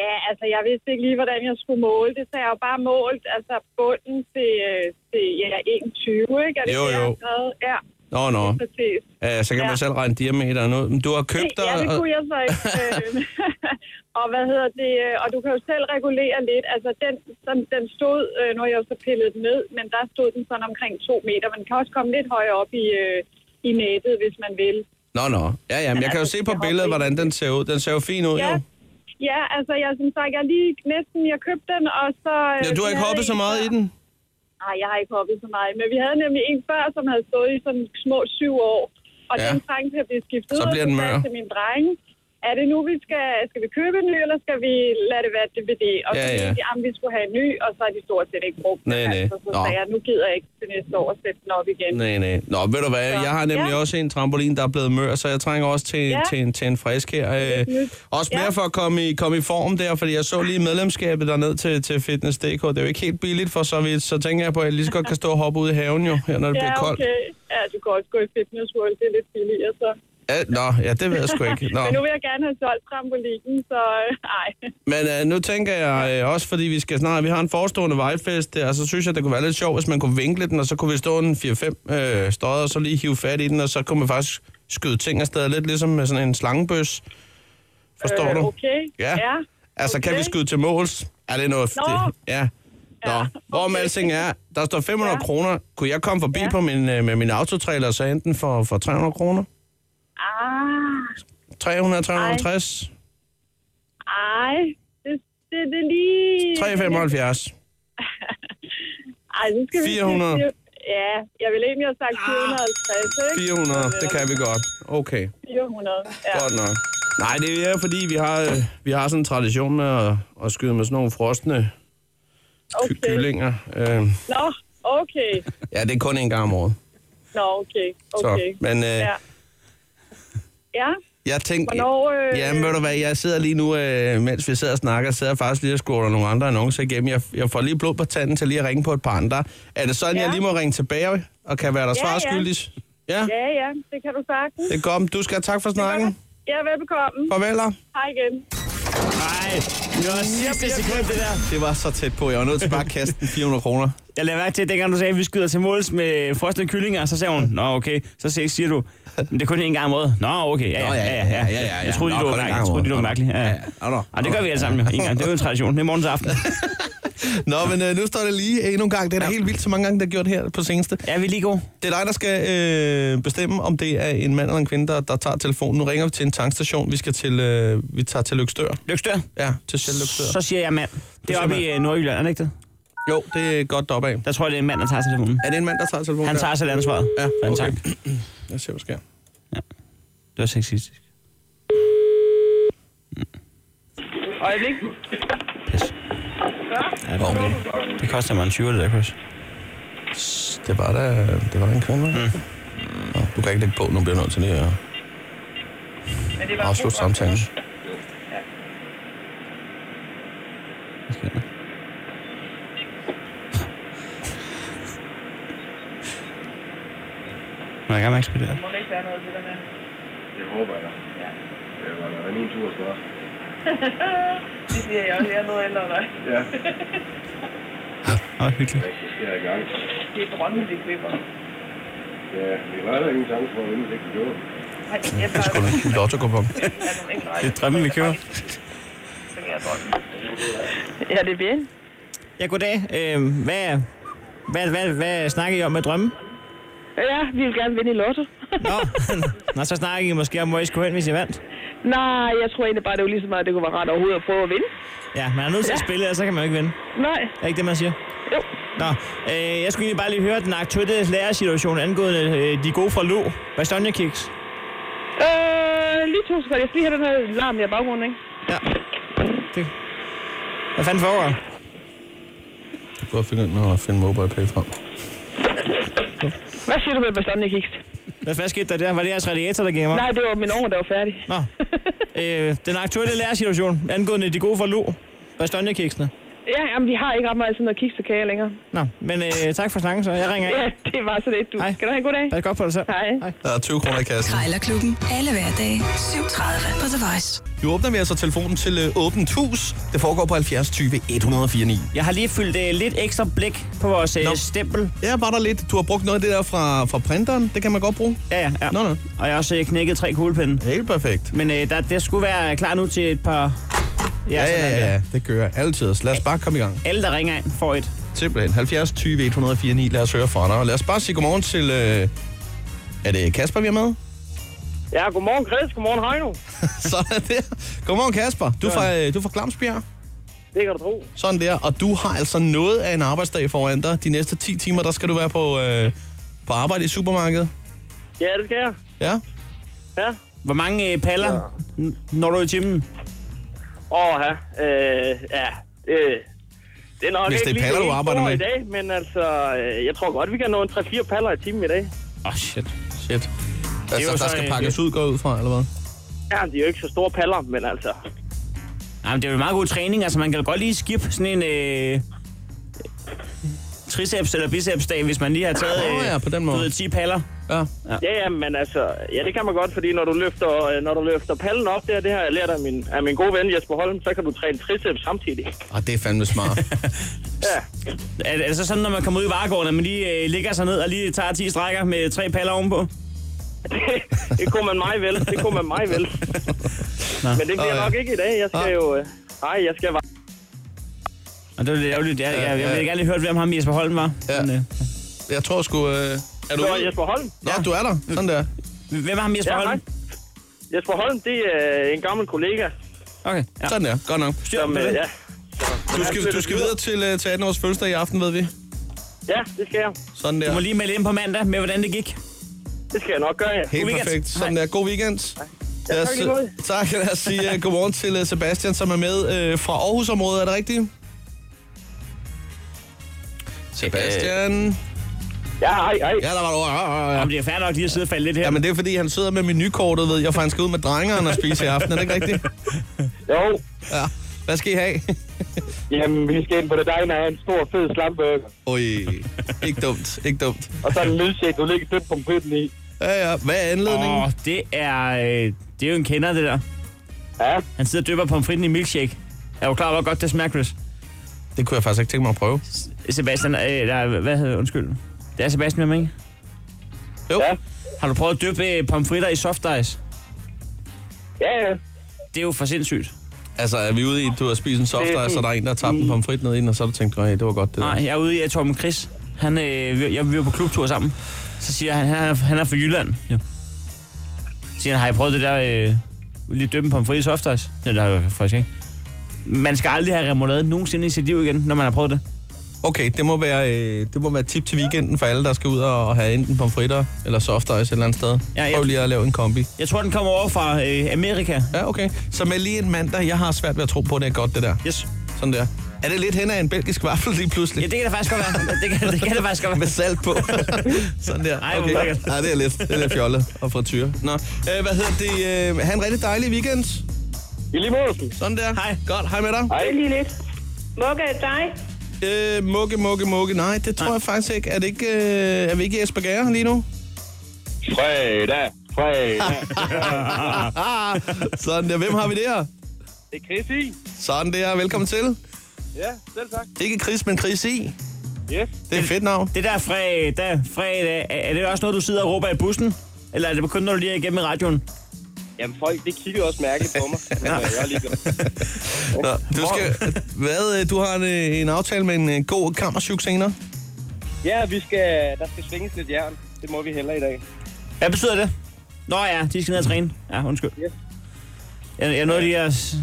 Ja, altså jeg vidste ikke lige, hvordan jeg skulle måle det, så jeg har jo bare målt altså, bunden til, øh, til ja, 21, ikke? Er det Jo, jo. det, Jeg har skrevet? ja, Nå, nå. præcis. Ja, så kan man Ja. selv regne diameteren ud. Men du har købt Det, ja, det kunne jeg så ikke. øh, og hvad hedder det? øh, Og du kan jo selv regulere lidt. Altså, den, som, den stod, øh, nu har jeg jo så pillet den ned, men der stod den sådan omkring to meter. Man kan også komme lidt højere op i, øh, i nettet, hvis man vil. Nå, nå. Ja, ja, men jeg kan jo altså, se det på har billedet, prisen. hvordan den ser ud. Den ser jo fin ud, Ja, jo. ja altså, jeg som sagt, jeg lige næsten, jeg købte den, og så... øh, Ja, du har vi ikke havde hoppet en så meget før. i den? Nej, jeg har ikke hoppet så meget. Men vi havde nemlig en før, som havde stået i sådan små syv år. Og Ja. ja. den trængte til at blive skiftet Så ud, bliver og den sagde jeg mør. til min dreng. Er det nu, vi skal, skal vi købe en ny, eller skal vi lade det være et DVD? Og Ja, så ja. mente de, at vi skulle have en ny, og så har de stort set ikke brugt Nej, den. nej. Altså, så Nå. sagde jeg, nu gider jeg ikke til næste år at sætte den op igen. Nej, nej. Nå, ved du hvad, jeg har nemlig ja. også en trampolin, der er blevet mør, så jeg trænger også til, ja. Ja. til, en, til en frisk her. Øh, også mere Ja. for at komme i, komme i form der, fordi jeg så lige medlemskabet derned til, til Fitness.dk. Det er jo ikke helt billigt for så vidt, så tænker jeg på, at jeg lige så godt kan stå og hoppe ud i haven jo, her, når det Ja, bliver koldt. okay. Ja, du kan også gå i Fitness World, det er lidt billigere, så. Ja, nå, ja, det ved jeg sgu ikke. Nå. Men nu vil jeg gerne have solgt trampolinen, så nej. Men øh, nu tænker jeg øh, også, fordi vi skal snart, vi har en forestående vejfest der, og så synes jeg, det kunne være lidt sjovt, hvis man kunne vinkle den, og så kunne vi stå en 4-5 øh, støder, og så lige hive fat i den, og så kunne man faktisk skyde ting afsted, lidt ligesom med sådan en slangebøs. Forstår Øh, du? Okay, Ja. ja. Altså, kan okay. vi skyde til måls? Er det noget? Nå. Det, ja. Nå, Ja, hvor okay. okay. alting er, der står 500 ja. Ja. kroner. Kunne jeg komme forbi ja. Ja. på min, øh, med min autotrailer, og så hente den for, for 300 kroner? Ah. 300, 350, Ej, det, det, det er lige... 375. Ej, nu skal 400. Vi, sige- ja, jeg ville egentlig have Ah, sagt 450, ikke? 400, det kan vi godt. Okay. 400, ja. Godt nok. Nej, det er fordi, vi har, øh, vi har sådan en tradition med at, at skyde med sådan nogle frostne ky- Okay. kyllinger. Øh, Nå, okay. ja, det er kun en gang om året. Nå, okay, Så, okay. men øh, Ja. ja. Ja, jeg tænkte... hvornår... Øh, Jamen, ved du hvad, jeg sidder lige nu, øh, mens vi sidder og snakker, sidder jeg faktisk lige og scroller nogle andre annoncer igennem. Jeg, jeg får lige blod på tanden til lige at ringe på et par andre. Er det sådan, ja. Ja. jeg lige må ringe tilbage og kan være der Ja, svar ja. skyldig? Ja. ja. Ja, ja, det kan du sagtens. Det er godt. Du skal have tak for snakken. Ja, velbekomme. Farvel. da. Hej igen. Nej, det var sidste sekund, det der. Det var så tæt på. Jeg var nødt til bare at kaste den 400 kroner. Jeg lader mærke til, at dengang du sagde, at vi skyder til måls med frosne kyllinger, så sagde hun, nå okay, så se- siger du, men det er kun én gang om året. Nå okay, ja, Nå, ja, ja, ja, ja, ja, ja. Jeg troede, Nå, lige, kun du var en mærkelig. gang Jeg om troede, året. lige, du var mærkelig. Ja, ja. Nå, nå. Og det gør vi alle sammen jo, en gang. Det er jo en tradition. Det er morgens aften. Nå, men øh, nu står det lige endnu en gang. Det er da helt vildt, så mange gange, der er gjort her på seneste. Er vi lige gode? Det er dig, der skal øh, bestemme, om det er en mand eller en kvinde, der, der tager telefonen. Nu ringer vi til en tankstation. Vi, skal til, øh, vi tager til Lykstør. Lykstør? Ja, til selv Lykstør. Så siger jeg mand. Det er siger oppe i øh, Nordjylland, er det ikke det? Jo, det er godt deroppe af. Der tror jeg, det er en mand, der tager telefonen. Er det en mand, der tager telefonen? Han der? tager selv ansvaret. Ja, Men okay. tak. Lad os se, hvad der sker. var sexistisk. Øjeblik. Yes. Ja, det, okay. det koster mig en 20 det der, Chris. Det var da, det var da en kvinde, mm. Nå, du kan ikke lægge på, nu bliver jeg nødt til lige at Men det afslutte samtalen. Hvad sker der? Må jeg gerne ekspedere? må ikke være noget til det der. Det håber jeg. Ja. Det var da min tur snart. Det siger jeg også, jeg er noget ældre dig. Ja, Åh, hyggeligt. det sker i gang. Det er drømmen, de klipper. Ja, vi var da ingen chance for at vinde, hvis ikke vi gjorde. det. Ej, jeg Det er sgu da en lotto kupon. Det er drømmen, vi kører. Ja, det er bien. Ja, goddag. Øh, hvad, hvad, hvad, hvad snakker I om med drømme? Ja, vi vil gerne vinde i lotto. Nå, Nå så snakker I måske om, hvor I skulle hen, hvis I vandt. Nej, jeg tror egentlig bare, det var lige så meget, det kunne være rart overhovedet at prøve at vinde. Ja, man er nødt til at Ja. spille, og så kan man jo ikke vinde. Nej. Er ikke det, man siger? Jo. Nå, øh, jeg skulle egentlig bare lige høre den aktuelle lærersituation angående øh, de gode fra Lo. Bastogne Kicks. Øh, lige to sekunder. Jeg skal lige have den her larm i baggrunden, ikke? Ja. Det. Hvad fanden foregår? der? Du kan godt finde ind og finde mobile pay frem. Hvad siger du med bestanden, jeg kiggede? Hvad, hvad skete der der? Var det jeres radiator, der gik mig? Nej, det var min ovn, der var færdig. Nå. Øh, den aktuelle lærersituation angående de gode fra Lo. Bastogne Kicksene. Ja, jamen, vi har ikke ret meget sådan noget kiksekager længere. Nå, men øh, tak for snakken, så jeg ringer af. Ja, det var så lidt, du. Hej. Skal du have en god dag? Pas godt på dig selv. Hej. Der er 20 kroner i kassen. Krejlerklubben. Alle hverdage 7.30 på The Voice. Nu åbner vi altså telefonen til øh, Åbent Hus. Det foregår på 70 20 1049. Jeg har lige fyldt øh, lidt ekstra blik på vores øh, Nå. stempel. Ja, var der lidt. Du har brugt noget af det der fra, fra printeren. Det kan man godt bruge. Ja, ja, ja. Nå, nå. Og jeg har også øh, knækket tre kuglepinde. Helt perfekt. Men øh, der, det skulle være klar nu til et par... Ja, sådan ja, der. ja. Det kører altid. Så lad os bare komme i gang. Alle, der ringer ind, får et. Simpelthen. 70 20 1049. Lad os høre fra dig. Og lad os bare sige godmorgen til... Øh... Er det Kasper, vi er med? Ja, godmorgen Chris, godmorgen Heino. Sådan der. Godmorgen, Kasper. Du er fra, øh, du er fra Glamsbjerg. Det kan du tro. Sådan der. Og du har altså noget af en arbejdsdag foran dig. De næste 10 timer, der skal du være på, øh, på arbejde i supermarkedet. Ja, det skal jeg. Ja? Ja. Hvor mange øh, paller ja. når du i timen? Åh, ja. Øh, ja. Øh. Det er nok Hvis det er ikke lige paller, du helt arbejder store med. i dag, men altså, øh, jeg tror godt, vi kan nå en 3-4 paller i timen i dag. Åh, oh, shit. Shit. jo Altså, der så skal en- pakkes ud, går jeg ud fra, eller hvad? Ja, de er jo ikke så store paller, men altså, Jamen, det er jo meget god træning. Altså, man kan jo godt lige skip sådan en... Øh, triceps eller bicepsdag, hvis man lige har taget øh, Nå ja, på den måde. du ved, 10 paller. Ja. Ja, ja, men altså, ja, det kan man godt, fordi når du løfter, øh, når du løfter pallen op der, det har jeg lært af min, af min gode ven Jesper Holm, så kan du træne triceps samtidig. Og det er fandme smart. Ja, Er, er det så sådan, når man kommer ud i varegården, at man lige øh, ligger sig ned og lige tager 10 strækker med tre paller ovenpå? det, det kunne man mig vel, det kunne man mig vel. Men det bliver Nå, ja. nok ikke i dag, jeg skal jo... Øh, nej, jeg skal bare... Og det var lidt ærgerligt. Jeg, jeg, jeg, jeg ja. ville gerne lige hørt, hvem ham Jesper Holm var. Ja. Men, øh, jeg tror sgu... Øh... Er du Så ude? Jesper Holm. Nå, du er der. Sådan der. øh, hvem er ham Jesper Ja, Holm? hej. Jesper Holm, det er øh, en gammel kollega, Okay. Ja. Sådan der. Godt nok. Styr som... på Øh, det. ja, Du skal, du skal videre til, øh, til 18 års fødselsdag i aften, ved vi. ja, det skal jeg. Sådan der. Du må lige melde ind på mandag med, hvordan det gik. Det skal jeg nok gøre, ja. Helt God weekend. perfekt. Sådan der. God weekend. Ja, Lad os, tak lige måde. tak, lad os sige uh, godmorgen til uh, Sebastian, som er med uh, fra Aarhusområdet. Er det rigtigt? Sebastian. Øh. Ja, hej, hej. Ja, der var du. Ah, Ja, ja, ja. Jamen, det er fair nok lige at sidde og falde lidt her. Jamen, det er fordi, han sidder med menukortet, ved jeg, for han skal ud med drengeren og spise i aften. Er det ikke rigtigt? Jo, Ja. Hvad skal I have? jamen, vi skal ind på det dejne af en stor, fed slamburger. Oj, ikke dumt, ikke dumt. Og så en milkshake, du ligger tyndt pomfritten i. Ja, ja. Hvad er anledningen? Åh, Oh. oh, det er... Øh, det er jo en kender, det der. Ja, Han sidder og dypper pomfritten i milkshake. Er du klar over, hvor godt det smager, Chris? Det kunne jeg faktisk ikke tænke mig at prøve. Sebastian, øh, der, hvad hedder undskyld. Det er Sebastian, med mig, ikke? Jo. ja, Har du prøvet at dyppe øh, pomfritter i soft ice? ja, ja. Det er jo for sindssygt. Altså, er vi ude i, at du har spist en soft ice, så der er en, der har tabt en pomfrit ned i den, og så har du tænkt, at det var godt det der. Nej, jeg er ude i, at Torben Chris, han, øh, vi, jeg, vi var på klubtur sammen. Så siger han, han er, han er fra Jylland. Ja. Så siger han, har I prøvet det der, øh, lige dømme pomfrit i soft ice? Nej, det har jeg faktisk ikke. Man skal aldrig have remoulade nogensinde i sit liv igen, når man har prøvet det. Okay, det må være, øh, det må være et tip til weekenden for alle, der skal ud og og have enten pomfritter eller soft ice et eller andet sted. Ja, ja. Prøv lige at lave en kombi. Jeg tror, den kommer over fra øh, Amerika. Ja, okay. Så med lige en mandag, jeg har svært ved at tro på, at det er godt, det der. Yes. Sådan der. Er det lidt hen af en belgisk vaffel lige pludselig? Ja, det kan det faktisk godt være. Det kan det, kan det faktisk godt med være. salt på. Sådan der. Ej, hvor lækkert. Nej, det er lidt, det er lidt fjollet og frityre. Nå, øh, hvad hedder det? Øh, ha' en rigtig dejlig weekend. I lige måde. Sådan der. Hej. Godt, hej med dig. Hej. Lige lidt. Mugge er dig. Øh, mukke, mukke, mukke. Nej, det tror jeg faktisk ikke. Er, det ikke, øh, er vi ikke i Asperger lige nu? Fredag. Fredag. Ah, sådan der. Hvem har vi der? Det er Chris i. Sådan der. Velkommen til. Ja, selv tak. Ikke Chris, men Chris I. Yes. Det er et fedt navn. Det der fredag, fredag, er er det også noget, du sidder og råber i bussen? Eller er det kun, når du lige er igennem i radioen? Jamen folk, det kigger også mærkeligt på mig. Men, øh, jeg er ligeglad. Nå, du, skal, hvad, øh, du har en, øh, en aftale med en øh, god kammerchuk senere. ja, vi skal, der skal svinges lidt jern. Det må vi heller i dag. Hvad betyder det? Nå ja, de skal ned og træne. Ja, undskyld. Yes. Jeg, jeg nåede lige at... s-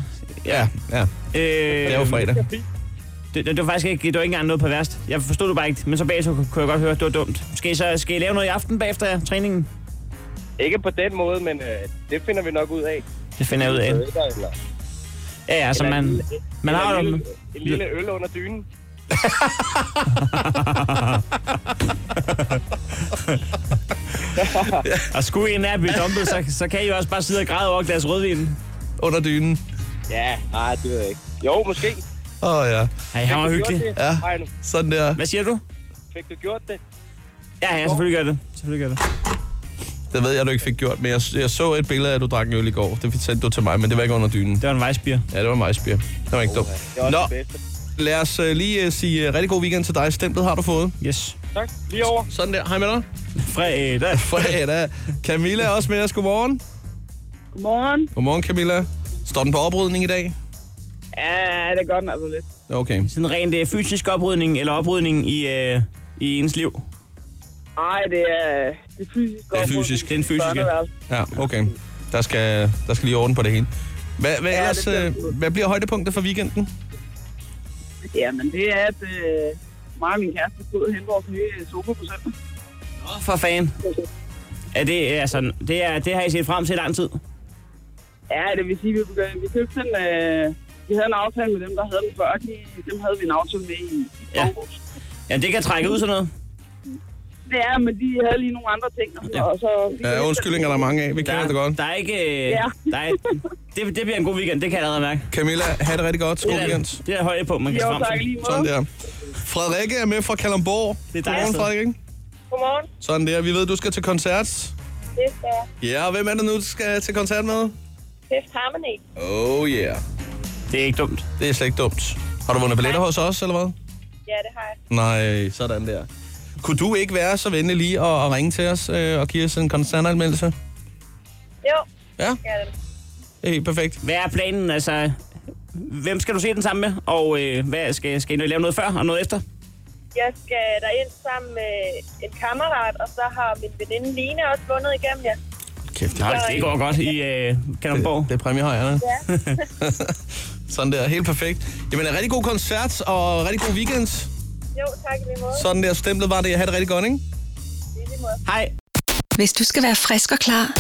Ja, ja. Øh, Det er jo fredag. Det, det, var faktisk ikke, det var ikke engang noget perverst. Jeg forstod det bare ikke, men så bagefter kunne kunne jeg godt høre, at det var dumt. Skal I, så, skal I lave noget i aften bagefter træningen? Ikke på den måde, men øh, det finder vi nok ud af. Det finder jeg ud af. Eller, eller, Ja, ja, så man, man har en, jo... lille, en lille øl under dynen. Og skulle I en af blive dumpet, så, så kan I jo også bare sidde og græde over et glas rødvin. Under dynen. Ja, nej, det ved jeg ikke. Jo, måske. Fik Åh oh, ja. Ej, han var du hyggelig. gjort det, Ja. Heino? Sådan der. Hvad siger du? Fik du gjort det? Ja, ja, selvfølgelig gør jeg det. Selvfølgelig gør jeg det. Det ved jeg, du ikke fik gjort, men jeg, jeg så et billede af, at du drak en øl i går. Det sendte du til mig, men det var ikke under dynen. Det var en vejsbier. Ja, det var en vejsbier. Det var ikke dumt. Oh, Det er også Nå, det bedste. lad os øh, lige øh, sige øh, rigtig god weekend til dig. Stemplet har du fået. Yes. Tak. Lige over. Sådan der. Hej med dig. Fredag. Fredag. Camilla er også med os. Godmorgen. Godmorgen. Godmorgen, Camilla. Står den på oprydning i dag? Ja, det er godt nok lidt. Okay. Sådan rent øh, fysisk oprydning eller oprydning i, øh, i ens liv. Ej, det er, øh, det er fysisk. Det er fysisk. Det er en fysisk. Ja, okay. Der skal, der skal lige orden på det hele. Hvad, hvad, Ja, ellers, det bliver øh, absolut. hvad bliver højdepunktet for weekenden? Jamen, det er, at øh, mig og min kæreste stod og hente vores nye sofa på søndag. Åh, for fan. Er det, altså, det, er, det har I set frem til i lang tid. Ja, det vil sige, at vi, begyndte, vi købte den... Øh, vi havde en aftale med dem, der havde den før. De, dem havde vi en aftale med i Ja. ja. Ja, det kan trække ud sådan noget. Det er, men de havde lige nogle andre ting. Og, ja. og så, Ja, Øh, undskyldninger er der mange af. Vi kender det godt. der er ikke... Øh, Ja. der er, det, det bliver en god weekend, det kan jeg allerede mærke. Camilla, have det rigtig godt. God Det er, weekend. det er højde på, man kan Jo, se frem tak i til. lige måde. Sådan der. Frederikke er med fra Kalamborg. Det er dig, Godmorgen, altså. Frederik. Godmorgen. Sådan der. Vi ved, du skal til koncert. Det er Ja, og hvem er det nu, du skal til koncert med? Fifth Harmony. Oh yeah. Det er ikke dumt. Det er slet ikke dumt. Har du vundet billetter hos os, eller hvad? Ja, det har jeg. Nej, sådan der. Kunne du ikke være så venlig lige at, at ringe til os øh, og give os en koncertanmeldelse? Jo. Ja, Ja, det det er helt perfekt. Hvad er planen, altså... Hvem skal du se den sammen med? Og øh, hvad, skal, skal I lave noget før og noget efter? jeg skal derind sammen med en kammerat, og så har min veninde Line også vundet igennem jer. Kæft, det Nej, det går godt i øh, Kalundborg. Det er præmiehøjerne. Ja. sådan der, helt perfekt. Jamen, en rigtig god koncert og rigtig god weekend. Jo, tak i lige måde. Sådan der, stemplet var det. Ha' det rigtig godt, ikke? Hej. Hvis du skal være frisk og klar,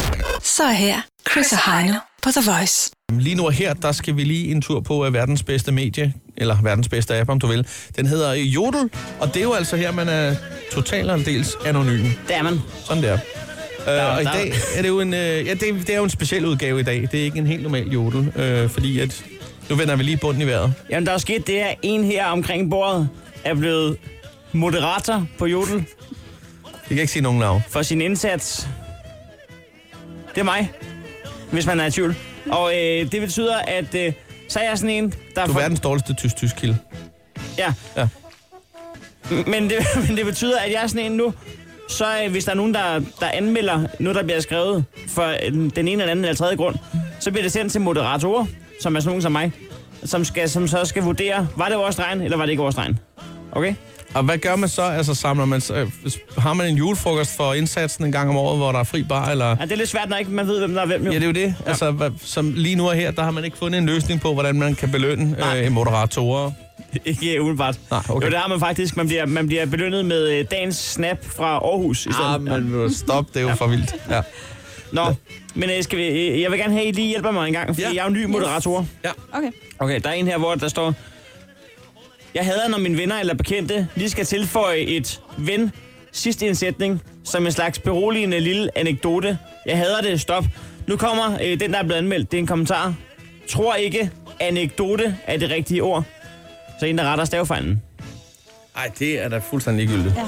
så er her Chris og Heino på The Voice. Lige nu og her, der skal vi lige en tur på uh, verdens bedste medie, eller verdens bedste app, om du vil. Den hedder øh, Jodel, og det er jo altså her, man er totalt og aldeles anonym. Det er man. Sådan der. Øh, og i der- dag er det jo en, øh, ja, det, det er jo en speciel udgave i dag. Det er ikke en helt normal jodel, øh, fordi at, nu vender vi lige bunden i vejret. Jamen, der er sket det her. En her omkring bordet er blevet moderator på Jodel Jeg kan ikke sige nogen navn. for sin indsats. Det er mig, hvis man er i tvivl. Og øh, det betyder, at øh, så er jeg sådan en, der... Du er verdens dårligste tysk-tysk kilde. Ja. Ja. Men det, men det betyder, at jeg er sådan en nu, så øh, hvis der er nogen, der, der anmelder noget, der bliver skrevet for øh, den ene eller anden eller tredje grund, så bliver det sendt til moderatorer, som er sådan nogen som mig, som, skal, som så skal vurdere, var det vores regn, eller var det ikke vores regn? Okay? Og hvad gør man så? Altså, samler man, så- øh, har man en julefrokost for indsatsen en gang om året, hvor der er fri bar? Eller? Ja, det er lidt svært, når ikke man ved, hvem der er hvem. Jo. Ja, det er jo det. Altså, hvad, som lige nu og her, der har man ikke fundet en løsning på, hvordan man kan belønne øh, moderatorer Ikke umiddelbart. Nej, okay. Jo, det har man faktisk. Man bliver, man bliver belønnet med øh, dagens snap fra Aarhus i stedet. Ah, men nu stop, det er jo for vildt. Ja. Nå, men øh, skal vi, øh, jeg vil gerne have, at I lige hjælper mig en gang, fordi Ja. ja. jeg er jo ny moderator. Okay. Okay, der er en her, hvor der står... Jeg hader, når mine venner eller bekendte lige skal tilføje et ven sidst i en sætning, som en slags beroligende lille anekdote. Jeg hader det, stop. Nu kommer øh, den, der er blevet anmeldt. Det er en kommentar. Tror ikke, anekdote er det rigtige ord. Så en, der retter stavefejlen. Ej, det er da fuldstændig ligegyldigt. Ja.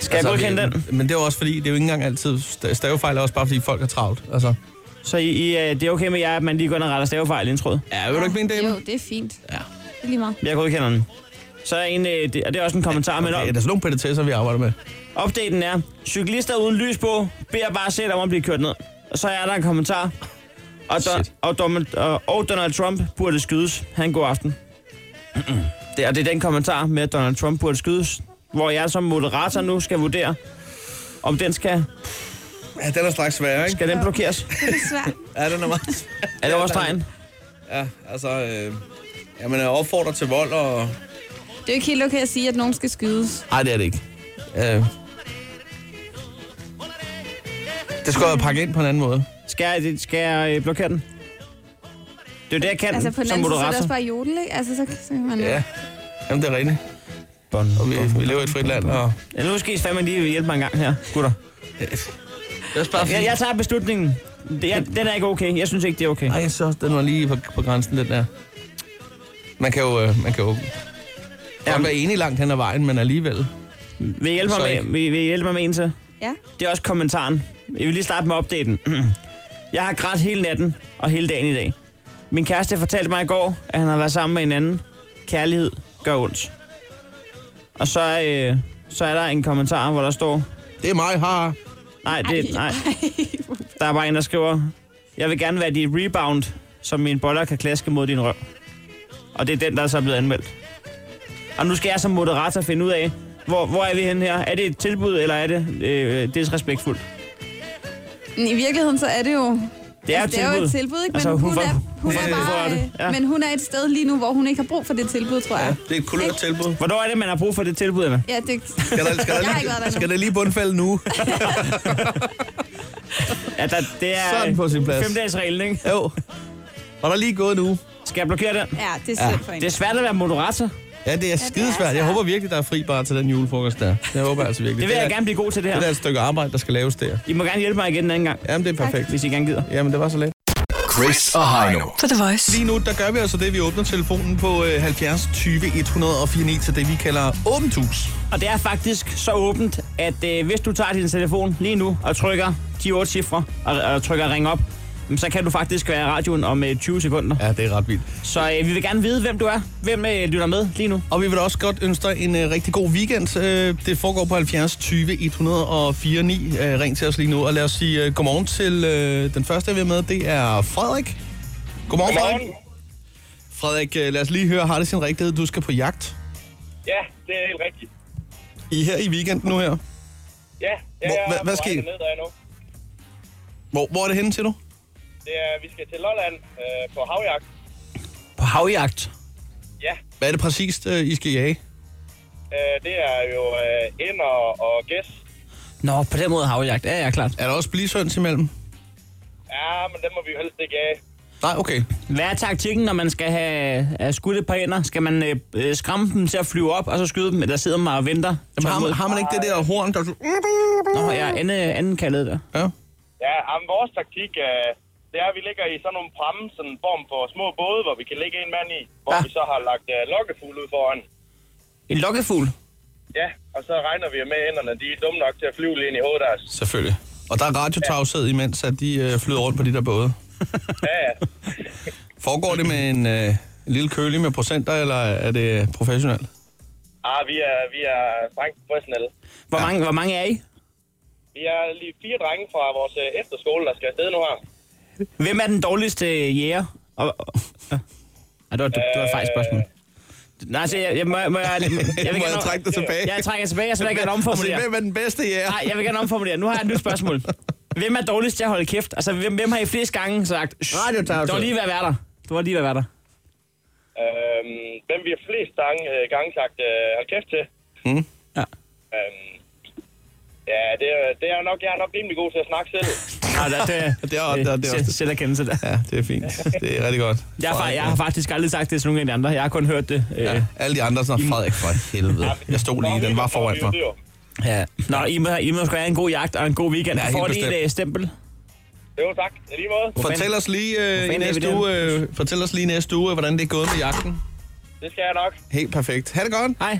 Skal altså, jeg godkende den? Men det er jo også fordi, det er jo ikke engang altid sta- stavefejl, er også bare fordi folk er travlt. Altså. Så I, I, øh, det er okay med jer, at man lige går ind og retter stavefejl i indtrådet? Ja, vil du ikke mene det, Emma? Jo, det er fint. Ja. Det er lige meget. Jeg godkender den. Så er en, øh, det, og det er også en kommentar, men Okay, op, er der sådan nogle pædetesser, vi arbejder med? Opdateringen er, cyklister uden lys på, beder bare selv om at blive kørt ned. Og så er der en kommentar. Og, Don, Shit. og, Donald, og, og Donald Trump burde skydes. Han god aften. det, og det er den kommentar med, at Donald Trump burde skydes, hvor jeg som moderator nu skal vurdere, om den skal, Ja, den er straks sværere, skal den blokeres. Det er svært. Ja, den er meget Er det overstregen? Ja, altså... Øh, jamen, jeg opfordrer til vold og... Det er jo ikke helt okay at sige, at nogen skal skydes. Nej, det er det ikke. Øh. Det skulle jeg pakke ind på en anden måde. Skal jeg, skal jeg øh, blokere den? Det er jo det, jeg kan Altså på den som anden side, så er det moderator. også bare jodel, ikke? Altså så, så kan man... Ja. Jamen, det er rigtigt. Og vi, vi lever i et frit land, og... Ja, nu skal I fandme lige hjælpe mig en gang her, gutter. Det er bare Jeg, jeg tager beslutningen. Det er, den er ikke okay. Jeg synes ikke, det er okay. Ej, jeg synes også, den var lige på, på grænsen, den der. Man kan jo, øh, man kan jo godt Jamen. være enig langt hen ad vejen, men alligevel. Vil I hjælpe Så mig ikke. med, vil, I- vil I hjælpe mig med en til? ja. Det er også kommentaren. Jeg vil lige starte med opdateringen. Jeg har grædt hele natten og hele dagen i dag. Min kæreste fortalte mig i går, at han har været sammen med en anden. Kærlighed gør ondt. Og så, øh, så er der en kommentar, hvor der står... Det er mig, har. Nej, det, nej, Ej. der er bare en, der skriver... Jeg vil gerne være dit rebound, som min boller kan klaske mod din røv. Og det er den, der så er blevet anmeldt. Og nu skal jeg som moderator finde ud af, hvor, hvor er vi henne her? Er det et tilbud, eller er det øh, disrespektfuldt? Men I virkeligheden så er det jo... Det er jo et altså, det er jo tilbud. et tilbud, ikke? Men, Altså, altså, hun hun, får- er, hun, hun er får bare, det, ja. øh, men hun er et sted lige nu, hvor hun ikke har brug for det tilbud, tror jeg. Det er et kulørt tilbud. Hvornår er det, man har brug for det tilbud, Emma? Ja, det... Skal der, skal der, Jeg har ikke været der lige, endnu. skal der lige bundfælde nu? Ja, der, det er øh, Sådan på sin plads. femdagsreglen, ikke? Jo. Var der lige gået nu? Skal jeg blokere den? Ja, det er synd for Det er hende. svært at være moderator. Ja, det er skidesvært. Jeg håber virkelig, der er fri bar til den julefrokost der. Jeg håber altså virkelig. Det vil jeg er- gerne blive god til, det Det er her. et stykke arbejde, der skal laves der. I må gerne hjælpe mig igen en anden gang, Jamen, det er perfekt. hvis I gerne gider. Jamen, det var så let. Chris og Heino. På The Voice. Lige nu, der gør vi altså det, vi åbner telefonen på øh, 70 20 104 9 til det, vi kalder åbent hus. Og det er faktisk så åbent, at øh, hvis du tager din telefon lige nu og trykker de otte cifre og, og trykker ring op, jamen, så kan du faktisk være i radioen om øh, 20 sekunder. Ja, det er ret vildt. Så øh, vi vil gerne vide, hvem du er. Hvem øh, lytter med lige nu? Og vi vil også godt ønske dig en øh, rigtig god weekend. Øh, det foregår på 70 20 104 9. Øh, ring til os lige nu, og lad os sige øh, godmorgen til øh, den første, vi er med. Det er Frederik. Godmorgen, Frederik. Frederik, øh, lad os lige høre, har det sin rigtighed, du skal på jagt? Ja, det er helt rigtigt. I er her i weekenden nu her. Ja, ja Hvor- jeg hva- er hvad på skal vej I- derned, der er nu. Hvor, hvor er det henne til du? Det er, vi skal til Lolland øh, på havjagt. På havjagt. Ja, Hvad er det præcist, øh, I skal jage? øh, det er jo øh, ender og gæs. Nå, på den måde havjagt. Ja, ja, klart. Er der også blisøns imellem? Ja, men den må vi jo helst ikke af. Nej, okay. Hvad er taktikken, når man skal have, have skudt et par ender? Skal man øh, øh, skræmme dem til at flyve op, og så skyde dem, eller sidder man og venter? Jamen, har, har man ikke det der horn, der... Nå, ja, anden, anden kaldet der. Ja. Ja, jamen, vores taktik øh, det er, at vi ligger i sådan nogle pramme, sådan en form for små både, hvor vi kan ligge en mand i, hvor Ja. ja. vi så har lagt øh, lokkefugl ud foran. En lokkefugl. Ja, og så regner vi med, at ænderne de er dumme nok til at flyve lige ind i hovedet af os. Selvfølgelig. Og der er radiotavshed imens, at de øh, flyder rundt på de der både. Ja, ja. Foregår det med en, øh, en lille kølig med procenter, eller er det professionelt? Ah, vi er, vi er strengt professionelle. Hvor, ja. mange, hvor mange er I? Vi er lige fire drenge fra vores øh, efterskole, der skal afsted nu her. Hvem er den dårligste øh, jæger? Og, og, ja. Ej, det var, det, det var et fejl spørgsmål. Nej, så jeg, jeg, må, må jeg, jeg, vil Må gerne, jeg trække dig tilbage? jeg trækker tilbage, jeg skal ikke gerne omformulere. Altså, hvem er den bedste jæger? Nej, jeg vil gerne omformulere. Nu har jeg et nyt spørgsmål. Hvem er dårligst til at holde kæft? Altså, hvem, hvem har I flest gange sagt, "Shh, Radiotavshed." du var lige ved at være der. Du var lige ved at være der. Øh, øhm, hvem vi har flest gange, øh, gange sagt øh, hold kæft til. Mm. Ja. Øhm, ja, det, er- det er jeg nok, jeg er nok rimelig god til at snakke selv. Ah, der, det, Det er, det er, det er, også, selverkendelse der. ja, det er fint. Det er rigtig godt. Jeg, har, fa- jeg har faktisk aldrig sagt det til nogen af de andre. Jeg har kun hørt det. Øh. Ja, alle de andre sådan, Frederik, for helvede. Jeg stod lige, den var foran mig. Ja. Nå, I må, I må sgu have en god jagt og en god weekend. Ja, Ja, helt Får lige bestemt. et øh, stempel. Jo, tak. I lige måde. Hvor Fortæl fanden- os lige øh, i fanden er vi næste der? uge, øh, fortæl os lige i næste uge, øh, hvordan det er gået med jagten. Det skal jeg nok. Helt perfekt. Ha' det godt. Hej.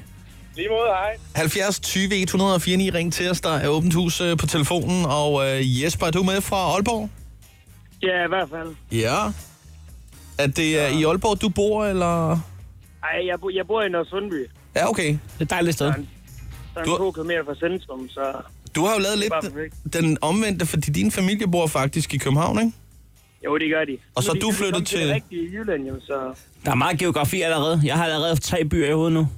Lige måde, hej. 70 20 149, ring til os. Der er åbent hus øh, på telefonen. Og øh, Jesper, er du med fra Aalborg? Ja, i hvert fald. Ja. Er det ja. i Aalborg, du bor, eller? Ej, jeg, bo, jeg bor i Nørresundby. Ja, okay. Det er et dejligt sted. Der er Du- en to kilometer fra centrum, så... Du har jo lavet bare lidt perfekt. den omvendte, fordi din familie bor faktisk i København, ikke? Jo, det gør de. Og så Nu er du de flyttet kommet til... til- Det rigtige Jylland, jo, så... Der er meget geografi allerede. Jeg har allerede haft tre byer i hovedet nu.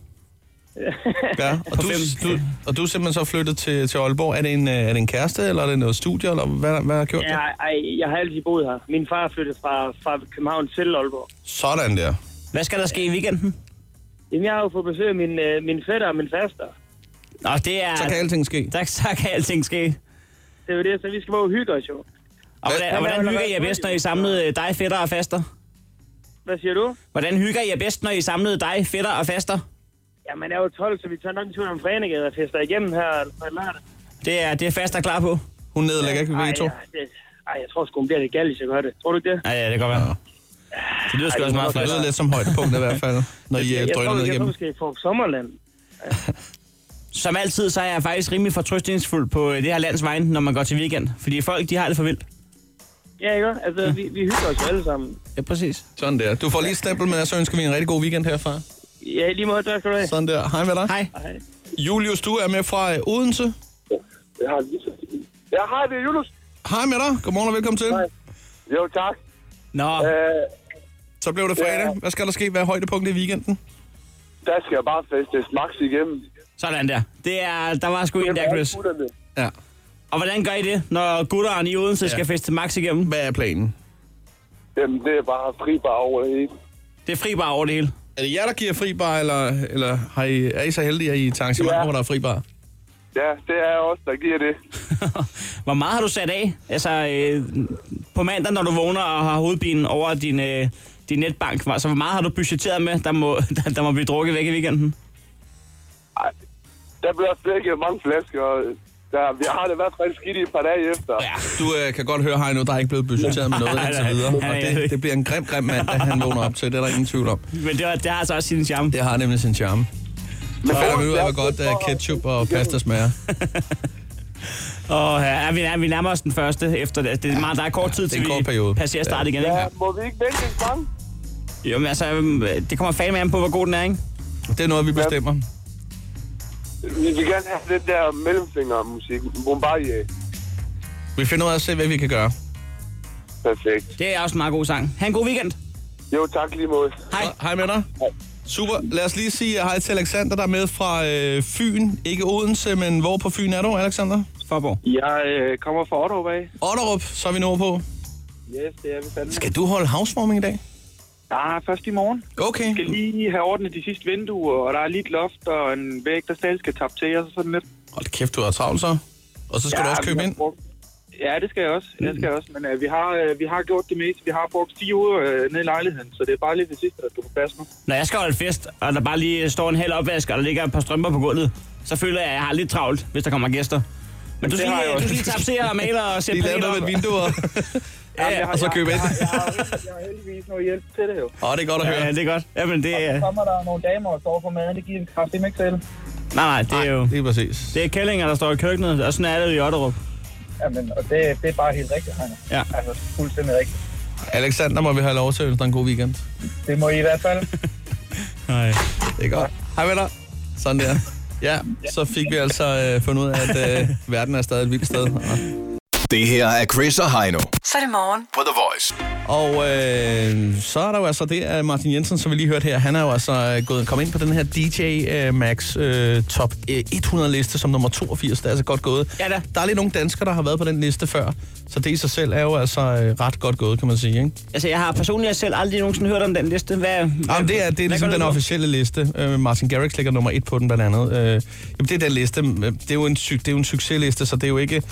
Ja. Og du, fem. du, og du er simpelthen så flyttet til, til Aalborg. Er det, en, øh, er det en kæreste, eller er det noget studie, eller hvad, hvad har gjort Ja, det? ej, jeg har altid boet her. Min far flyttede fra, fra København til Aalborg. Sådan der. Hvad skal der ske i weekenden? Jamen, jeg har jo fået besøg af min, øh, min fætter og min faster. Nå, det er... Så kan alting ske. der, så kan alting ske. Det er jo det, så vi skal bare hygge os jo. Og Hvad- hvordan, og hvordan Hvad- hygger I jer bedst, når I samlede øh, dig, fætter og faster? Hvad siger du? Hvordan hygger I jer bedst, når I samlede dig, fætter og faster? Ja, man er jo 12, så vi tager nok en tur om Frenegade og fester igennem her på lørdag. Det er, det er faster klar på. Hun nedlægger ikke ved to. ja, det, ej, jeg tror sgu, hun bliver lidt gal, hvis jeg gør det. Tror du ikke det? Ja, ja, det kan godt være. Det lyder sgu Ej, også meget det Det flot. lyder lidt som højdepunkt i hvert fald, når I øh, jeg drøner tror, ned jeg tror, igennem. vi skal få sommerland. Som altid, så er jeg faktisk rimelig fortrystningsfuld på øh, det her lands vegne, når man går til weekend. Fordi folk, de har det for vildt. Ja, ikke? Altså, vi, vi hygger os jo alle sammen. Ja, præcis. Sådan der. Du får lige et stempel med, og så ønsker vi en rigtig god weekend herfra. Ja, i lige måde, tak skal du have. Sådan der. Hej med dig. Hej. Julius, du er med fra øh, Odense. Jeg har lige Jeg har det, Julius. Hej med dig. Godmorgen og velkommen til. Hej. Jo, tak. Nå, Øh, Så blev det fredag. Hvad skal der ske? Hvad er højdepunktet i weekenden? der skal jeg bare festes max igennem. sådan der. Det er, der var sgu en der, Chris. Gutterne. Ja. Og hvordan gør I det, når gutteren i Odense skal feste max igennem? Hvad er planen? Jamen, det er bare fri bare over det hele. Det er fri bar over det hele. Er det jer, der giver fri bar, eller, eller har I, er I så heldige, at I tager arrangementer, Ja. hvor der er fri bar? Ja, det er også der giver det. Hvor meget har du sat af? Altså, øh, på mandag, når du vågner og har hovedbinen over din, øh, din netbank, hvor- så hvor meget har du budgetteret med, der må, der, der må blive drukket væk i weekenden? Ej, der bliver stikket mange flasker, og øh, der, vi har det i hvert fald skidt i et par dage efter. Ja. Du øh, kan godt høre, Heino, der er ikke blevet budgetteret med noget Nej, indtil nej. videre. Og Han er det, ikke. det bliver en grim, grim mand, da han vågner op til. Det er der ingen tvivl om. Men det, var, det har altså også sin charme. Det har nemlig sin charme. Så falder vi ud af, hvor godt øh, ketchup og pasta smager. Og ja, vi, nær- vi nærmer os den første efter det. Det er meget, der er kort tid, det er til en vi kort periode. passerer start igen, ikke? Ja, må vi ikke vente en gang? Jo, men altså, øh, det kommer fandme an på, hvor god den er, ikke? Det er noget, vi bestemmer. Vi vil gerne have den der mellemfingermusik. Bombardier. Vi finder ud af at se, hvad vi kan gøre. Perfekt. Det er også en meget god sang. Ha' en god weekend. Jo, tak lige måde. Hej. Hej med dig. Super. Lad os lige sige hej til Alexander, der er med fra øh, Fyn. Ikke Odense, men hvor på Fyn er du, Alexander? Forborg. Jeg øh, kommer fra Otto af. Otterup, så er vi nået på. Yes, det er vi fandme. Skal du holde housewarming i dag? Ja, først i morgen. Okay. skal lige have ordnet de sidste vinduer, og der er lige et loft og en væg, der stadig skal tappe til, og så sådan lidt. Hold kæft, du har travlt så. Og så skal ja, du også købe ind. Mm. Ja, det skal jeg også. Det skal jeg også. Men øh, vi, har, øh, vi har gjort det meste. Vi har brugt fire uger øh, ned i lejligheden, så det er bare lige det sidste, der skal på plads nu. Når jeg skal holde fest, og der bare lige står en halv opvask, og der ligger et par strømper på gulvet, så føler jeg, at jeg har lidt travlt, hvis der kommer gæster. Men du skal, har lige, jeg du også. skal lige tapsere og male og sætte Lige lave planer noget op. med vinduer, Ja, ja. og så købe ind. Jeg har, heldigvis- jeg har heldigvis noget hjælp til det jo. Åh, det er godt at Ja, høre. det er godt. Jamen, det er... Kommer der nogle damer og står for maden, det giver en kraft ikke til. Nej, nej, det er jo... Lige præcis. Det er kællinger, der står i køkkenet, og sådan er det jo i Otterup. Jamen, og det, det er bare helt rigtigt, Heiner. Ja. Altså, fuldstændig rigtigt. Alexander må vi have lov til at ønske dig en god weekend. Det må I i hvert fald. Nej. Det er godt. Hej med dig. Sådan der. Ja, så fik vi altså øh, fundet ud af, at øh, verden er stadig et vildt sted. Og Det her er Chris og Heino Så er det morgen. på The Voice. Og øh, så er der jo altså det, at Martin Jensen, som vi lige hørte her, han er jo altså øh, gået kommet ind på den her DJ øh, Max øh, Top øh, 100-liste som nummer 82. Det er altså godt gået. Ja da. Der er lige nogle danskere, der har været på den liste før, så det i sig selv er jo altså øh, ret godt gået, kan man sige. Ikke? Altså, jeg har personligt selv aldrig nogensinde hørt om den liste. Hvad, hvad- Jamen, det er, det er hvad ligesom går den ud på? officielle liste. Øh, Martin Garrix ligger nummer et på den, blandt andet. Øh, jamen, det er den liste. Øh, Det er jo en, sy- det er jo en succesliste, så det er jo ikke...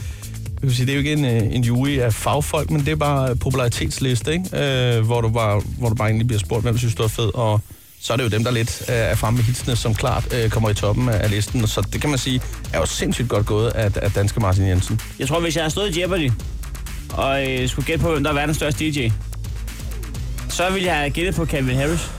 Jeg kan sige, det er jo ikke en, øh, en jury af fagfolk, men det er bare en popularitetsliste, ikke? Øh, hvor, du bare, hvor du bare egentlig bliver spurgt, hvem synes, du er fed, og så er det jo dem, der lidt øh, er fremme med hitsene, som klart øh, kommer i toppen af, af listen. Så det kan man sige, er jo sindssygt godt gået af, af danske Martin Jensen. Jeg tror, hvis jeg havde stået i Jeopardy, og øh, skulle gætte på, hvem der er verdens største DJ, så ville jeg have gættet på Calvin Harris.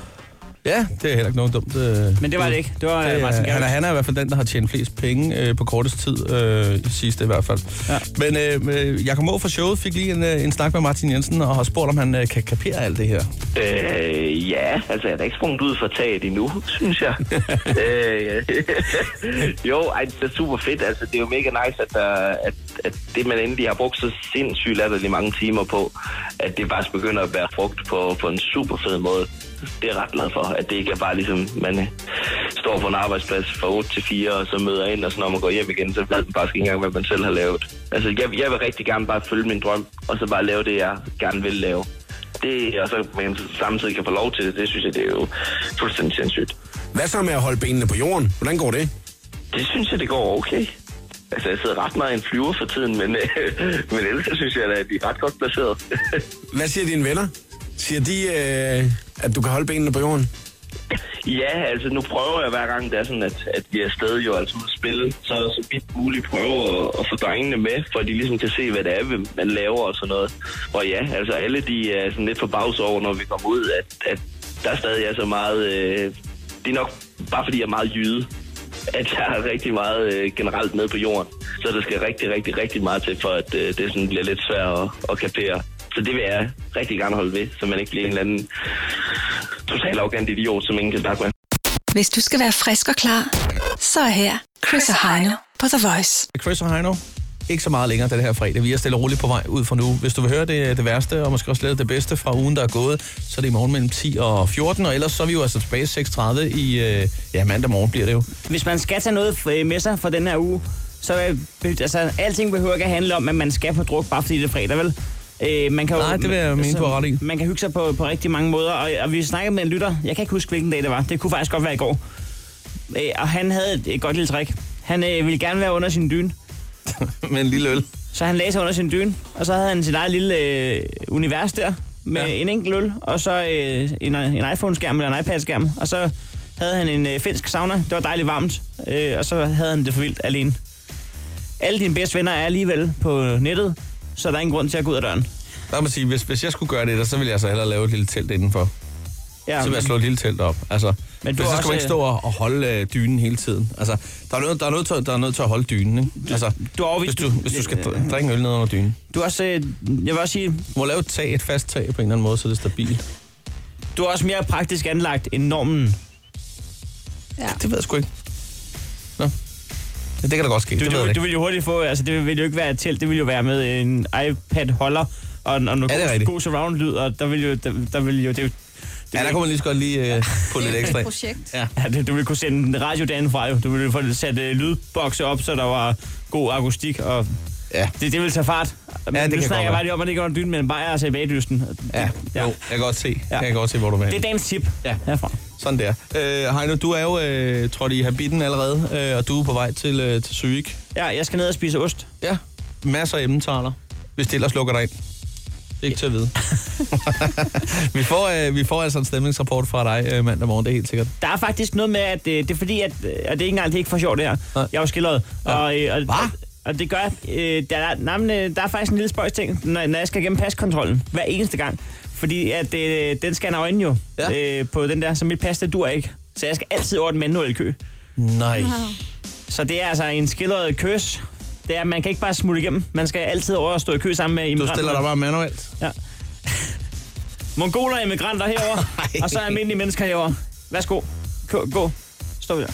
Ja, det er heller ikke noget dumt. Øh, Men det var det ikke. Det var Det det, Martin er, han, er, Garrix. han er i hvert fald den, der har tjent flest penge øh, på kortest tid, øh, i sidste i hvert fald. Ja. Men øh, øh, Jakob Må fra showet fik lige en, øh, en snak med Martin Jensen, og har spurgt, om han øh, kan kapere alt det her. Øh, ja, altså jeg er da ikke sprunget ud fra taget endnu, synes jeg. øh, jo, ej, det er super fedt. Altså, det er jo mega nice, at, der, at, at det, man endelig har brugt så sindssygt latterligt mange timer på, at det faktisk begynder at bære frugt på, på en super fed måde. Det er jeg ret glad for, at det ikke er bare ligesom, man øh, står på en arbejdsplads fra 8 til 4, og så møder ind, og så når man går hjem igen, så ved man faktisk ikke engang, hvad man selv har lavet. Altså, jeg, jeg vil rigtig gerne bare følge min drøm, og så bare lave det, jeg gerne vil lave det, og så men samtidig kan få lov til det, det synes jeg, det er jo fuldstændig sindssygt. Hvad så med at holde benene på jorden? Hvordan går det? Det synes jeg, det går okay. Altså, jeg sidder ret meget i en flyver for tiden, men, øh, men ellers så synes jeg, at de er ret godt placeret. Hvad siger dine venner? Siger de, øh, at du kan holde benene på jorden? ja, altså, nu prøver jeg hver gang, det er sådan, at, at vi er afsted jo altså ud at spille, så så vidt muligt prøver at, at få drengene med, for at de ligesom kan se, hvad det er, hvem man laver og sådan noget. Og ja, altså, alle de er sådan lidt forbavset over, når vi kommer ud, at, at der stadig er så meget... Øh, det er nok bare, fordi jeg er meget jyde. at jeg er rigtig meget øh, generelt med på jorden. Så der skal rigtig, rigtig, rigtig meget til, for at øh, det sådan bliver lidt svært at, at kapere. Så det vil jeg rigtig gerne holde ved, så man ikke bliver en eller anden total arrogant idiot, som ingen kan snakke med. Hvis du skal være frisk og klar, så er her Chris og Heino på The Voice. Chris og Heino, ikke så meget længere den her fredag. Vi er stille og roligt på vej ud for nu. Hvis du vil høre det, det værste, og måske også lidt det bedste fra ugen, der er gået, så er det i morgen mellem 10 og 14, og ellers så er vi jo altså tilbage 6.30 i... Øh, ja, mandag morgen bliver det jo. Hvis man skal tage noget øh, med sig fra den her uge, så øh, altså, alting behøver ikke at handle om, at man skal på druk, bare fordi det er fredag, vel? Øh, man kan jo- altså, Nej, det vil jeg mene, du har ret i. Man kan hygge sig på, på rigtig mange måder, og, og vi snakkede med en lytter, jeg kan ikke huske, hvilken dag det var, det kunne faktisk godt være i går, øh, og han havde et, et godt lille trick. Han øh, ville gerne være under sin dyne, Med en lille øl. så han lagde sig under sin dyne, og så havde han sit eget lille øh, univers der, med Ja. ja. en enkelt øl, og så øh, en, en iPhone-skærm eller en iPad-skærm, og så havde han en øh, finsk sauna, det var dejligt varmt, øh, og så havde han det for vildt alene. Alle dine bedste venner er alligevel på nettet, så der er ingen grund til at gå ud af døren. Der må sige, hvis, hvis jeg skulle gøre det, der, så ville jeg så hellere lave et lille telt indenfor. Ja, så vil jeg men- slå et lille telt op. Altså, men Men du du så har skal man også, ikke stå og, og holde øh, dynen hele tiden. Altså, der er noget, der er noget, til, der er noget til at holde dynen, ikke? Altså, du er Øh, hvis overvist- du, hvis du skal dr- drikke øl ned under dynen. Du er også, øh, jeg vil også sige, Du må lave et tag, et fast tag på en eller anden måde, så det er stabilt. du er også mere praktisk anlagt end normen. Ja. Det ved jeg sgu ikke. Nå. Ja, det kan da godt ske. Du, det ved jeg du, ikke. du vil jo hurtigt få, altså det vil jo ikke være et telt, det vil jo være med en iPad-holder og, en- og Ja, det er noget god, rigtigt. god surround-lyd, og der vil jo, der, der vil jo, det, er jo- det ja, der kunne man lige så godt lige øh, på lidt ekstra. et ind. projekt. Ja. Ja, det, du ville kunne sende en radio derindefra, jo. Du ville få sat øh, lydbokse op, så der var god akustik, og Ja. det, det ville tage fart. Men det nu kan snakker godt jeg være. bare lige om, at det ikke var en dyne, men bare er altså i bagdysten. Ja, ja. jo, jeg kan godt se. Ja. Jeg kan godt se, hvor du er. Det er dagens tip Ja. herfra. Sådan der. Øh, Heino, du er jo øh, trådt i habitten allerede, øh, og du er på vej til, øh, til Zürich. Ja, jeg skal ned og spise ost. Ja, masser af emmentaler, hvis det ellers lukker dig ind. Det er ikke til at vide. vi, får, øh, vi får altså en stemningsrapport fra dig øh, mandag morgen, det er helt sikkert. Der er faktisk noget med, at øh, det er fordi, at, øh, og det er ikke engang, det er ikke for sjovt det her. Nej. Jeg er jo skildret. Ja. Og, øh, og, Hva? og det gør, øh, der, er, nej, men, øh, der er faktisk en lille spøjs ting, når, når jeg skal igennem paskontrollen hver eneste gang. Fordi at øh, den scanner jo ind jo Ja. øh, på den der, så mit pas det dur ikke. Så jeg skal altid over den manuelle kø. Nej. Så det er altså en skildret køs. Det er, at man kan ikke bare smutte igennem. Man skal altid over og stå i kø sammen med Du immigranter. stiller dig bare manuelt. Mongoler og immigranter herover, og så almindelige mennesker herover. Værsgo. Gå. gå. Stå der.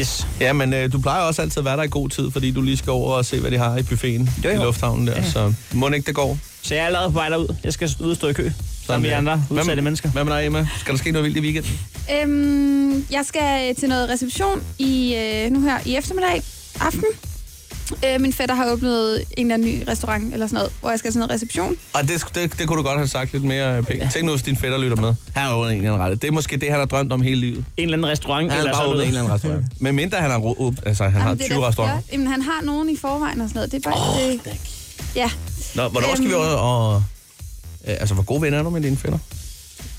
Yes. Ja, men øh, du plejer også altid at være der i god tid, fordi du lige skal over og se, hvad de har i buffeten Jo, jo. i lufthavnen der. Ja. Ja. Så må ikke, det går. Så jeg er allerede på vej derud. Jeg skal ud og stå i kø, som de der. andre udsatte hvad, mennesker. Hvad med dig, Emma? Skal der ske noget vildt i weekenden? Øhm, jeg skal øh, til noget reception i, øh, nu her i eftermiddag aften. Øh, min fætter har åbnet en eller anden ny restaurant eller sådan noget, hvor jeg skal til noget reception. Og det, det, det kunne du godt have sagt lidt mere øh, pænt. Ja. Tænk nu, hvis din fætter lytter med. Han har åbnet en eller anden rette. Det er måske det, han har drømt om hele livet. En eller anden restaurant. Han har eller bare sådan åbnet noget. en eller anden restaurant. Men mindre han har, ro- åb- altså, han har Jamen, det er 20 derfor, restauranter. jeg- Jamen, han har nogen i forvejen og sådan noget. Det er bare oh, det. Ja, Nå, hvornår skal vi Øhm. over og... Øh, altså, hvor gode venner er du med dine fætter?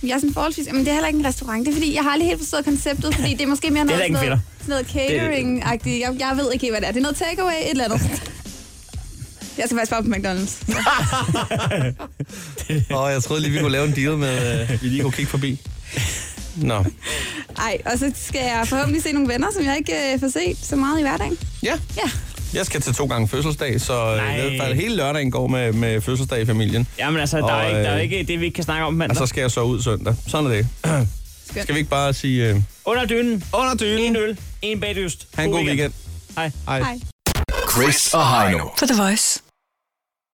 jeg er sådan forholdsvis... Men det er heller ikke en restaurant. Det er fordi, jeg har aldrig helt forstået konceptet, fordi det er måske mere Det er noget, da ikke sådan noget, fedt. sådan noget catering-agtigt. Jeg, jeg ved ikke helt, hvad det er. Det er noget takeaway, et eller andet. Jeg skal faktisk bare på McDonald's. Åh, oh, jeg troede lige, vi kunne lave en deal med, øh, vi lige kunne kigge forbi. Nå. Ej, og så skal jeg forhåbentlig se nogle venner, som jeg ikke øh, får set så meget i hverdagen. Ja. Ja. Jeg skal til to gange fødselsdag, så øh, i Nej. hvert fald hele lørdagen går med, med fødselsdag i familien. Jamen altså, der, Og, er ikke, der er øh, ikke det, vi ikke kan snakke om Og mandag. så Altså, skal jeg så ud søndag. Sådan er det. Skal vi ikke bare sige... Øh, Under dynen. under En dynen. øl. En bagdyst. Ha' en god weekend. Hej. Hej. Hej. Chris og Heino. På The Voice.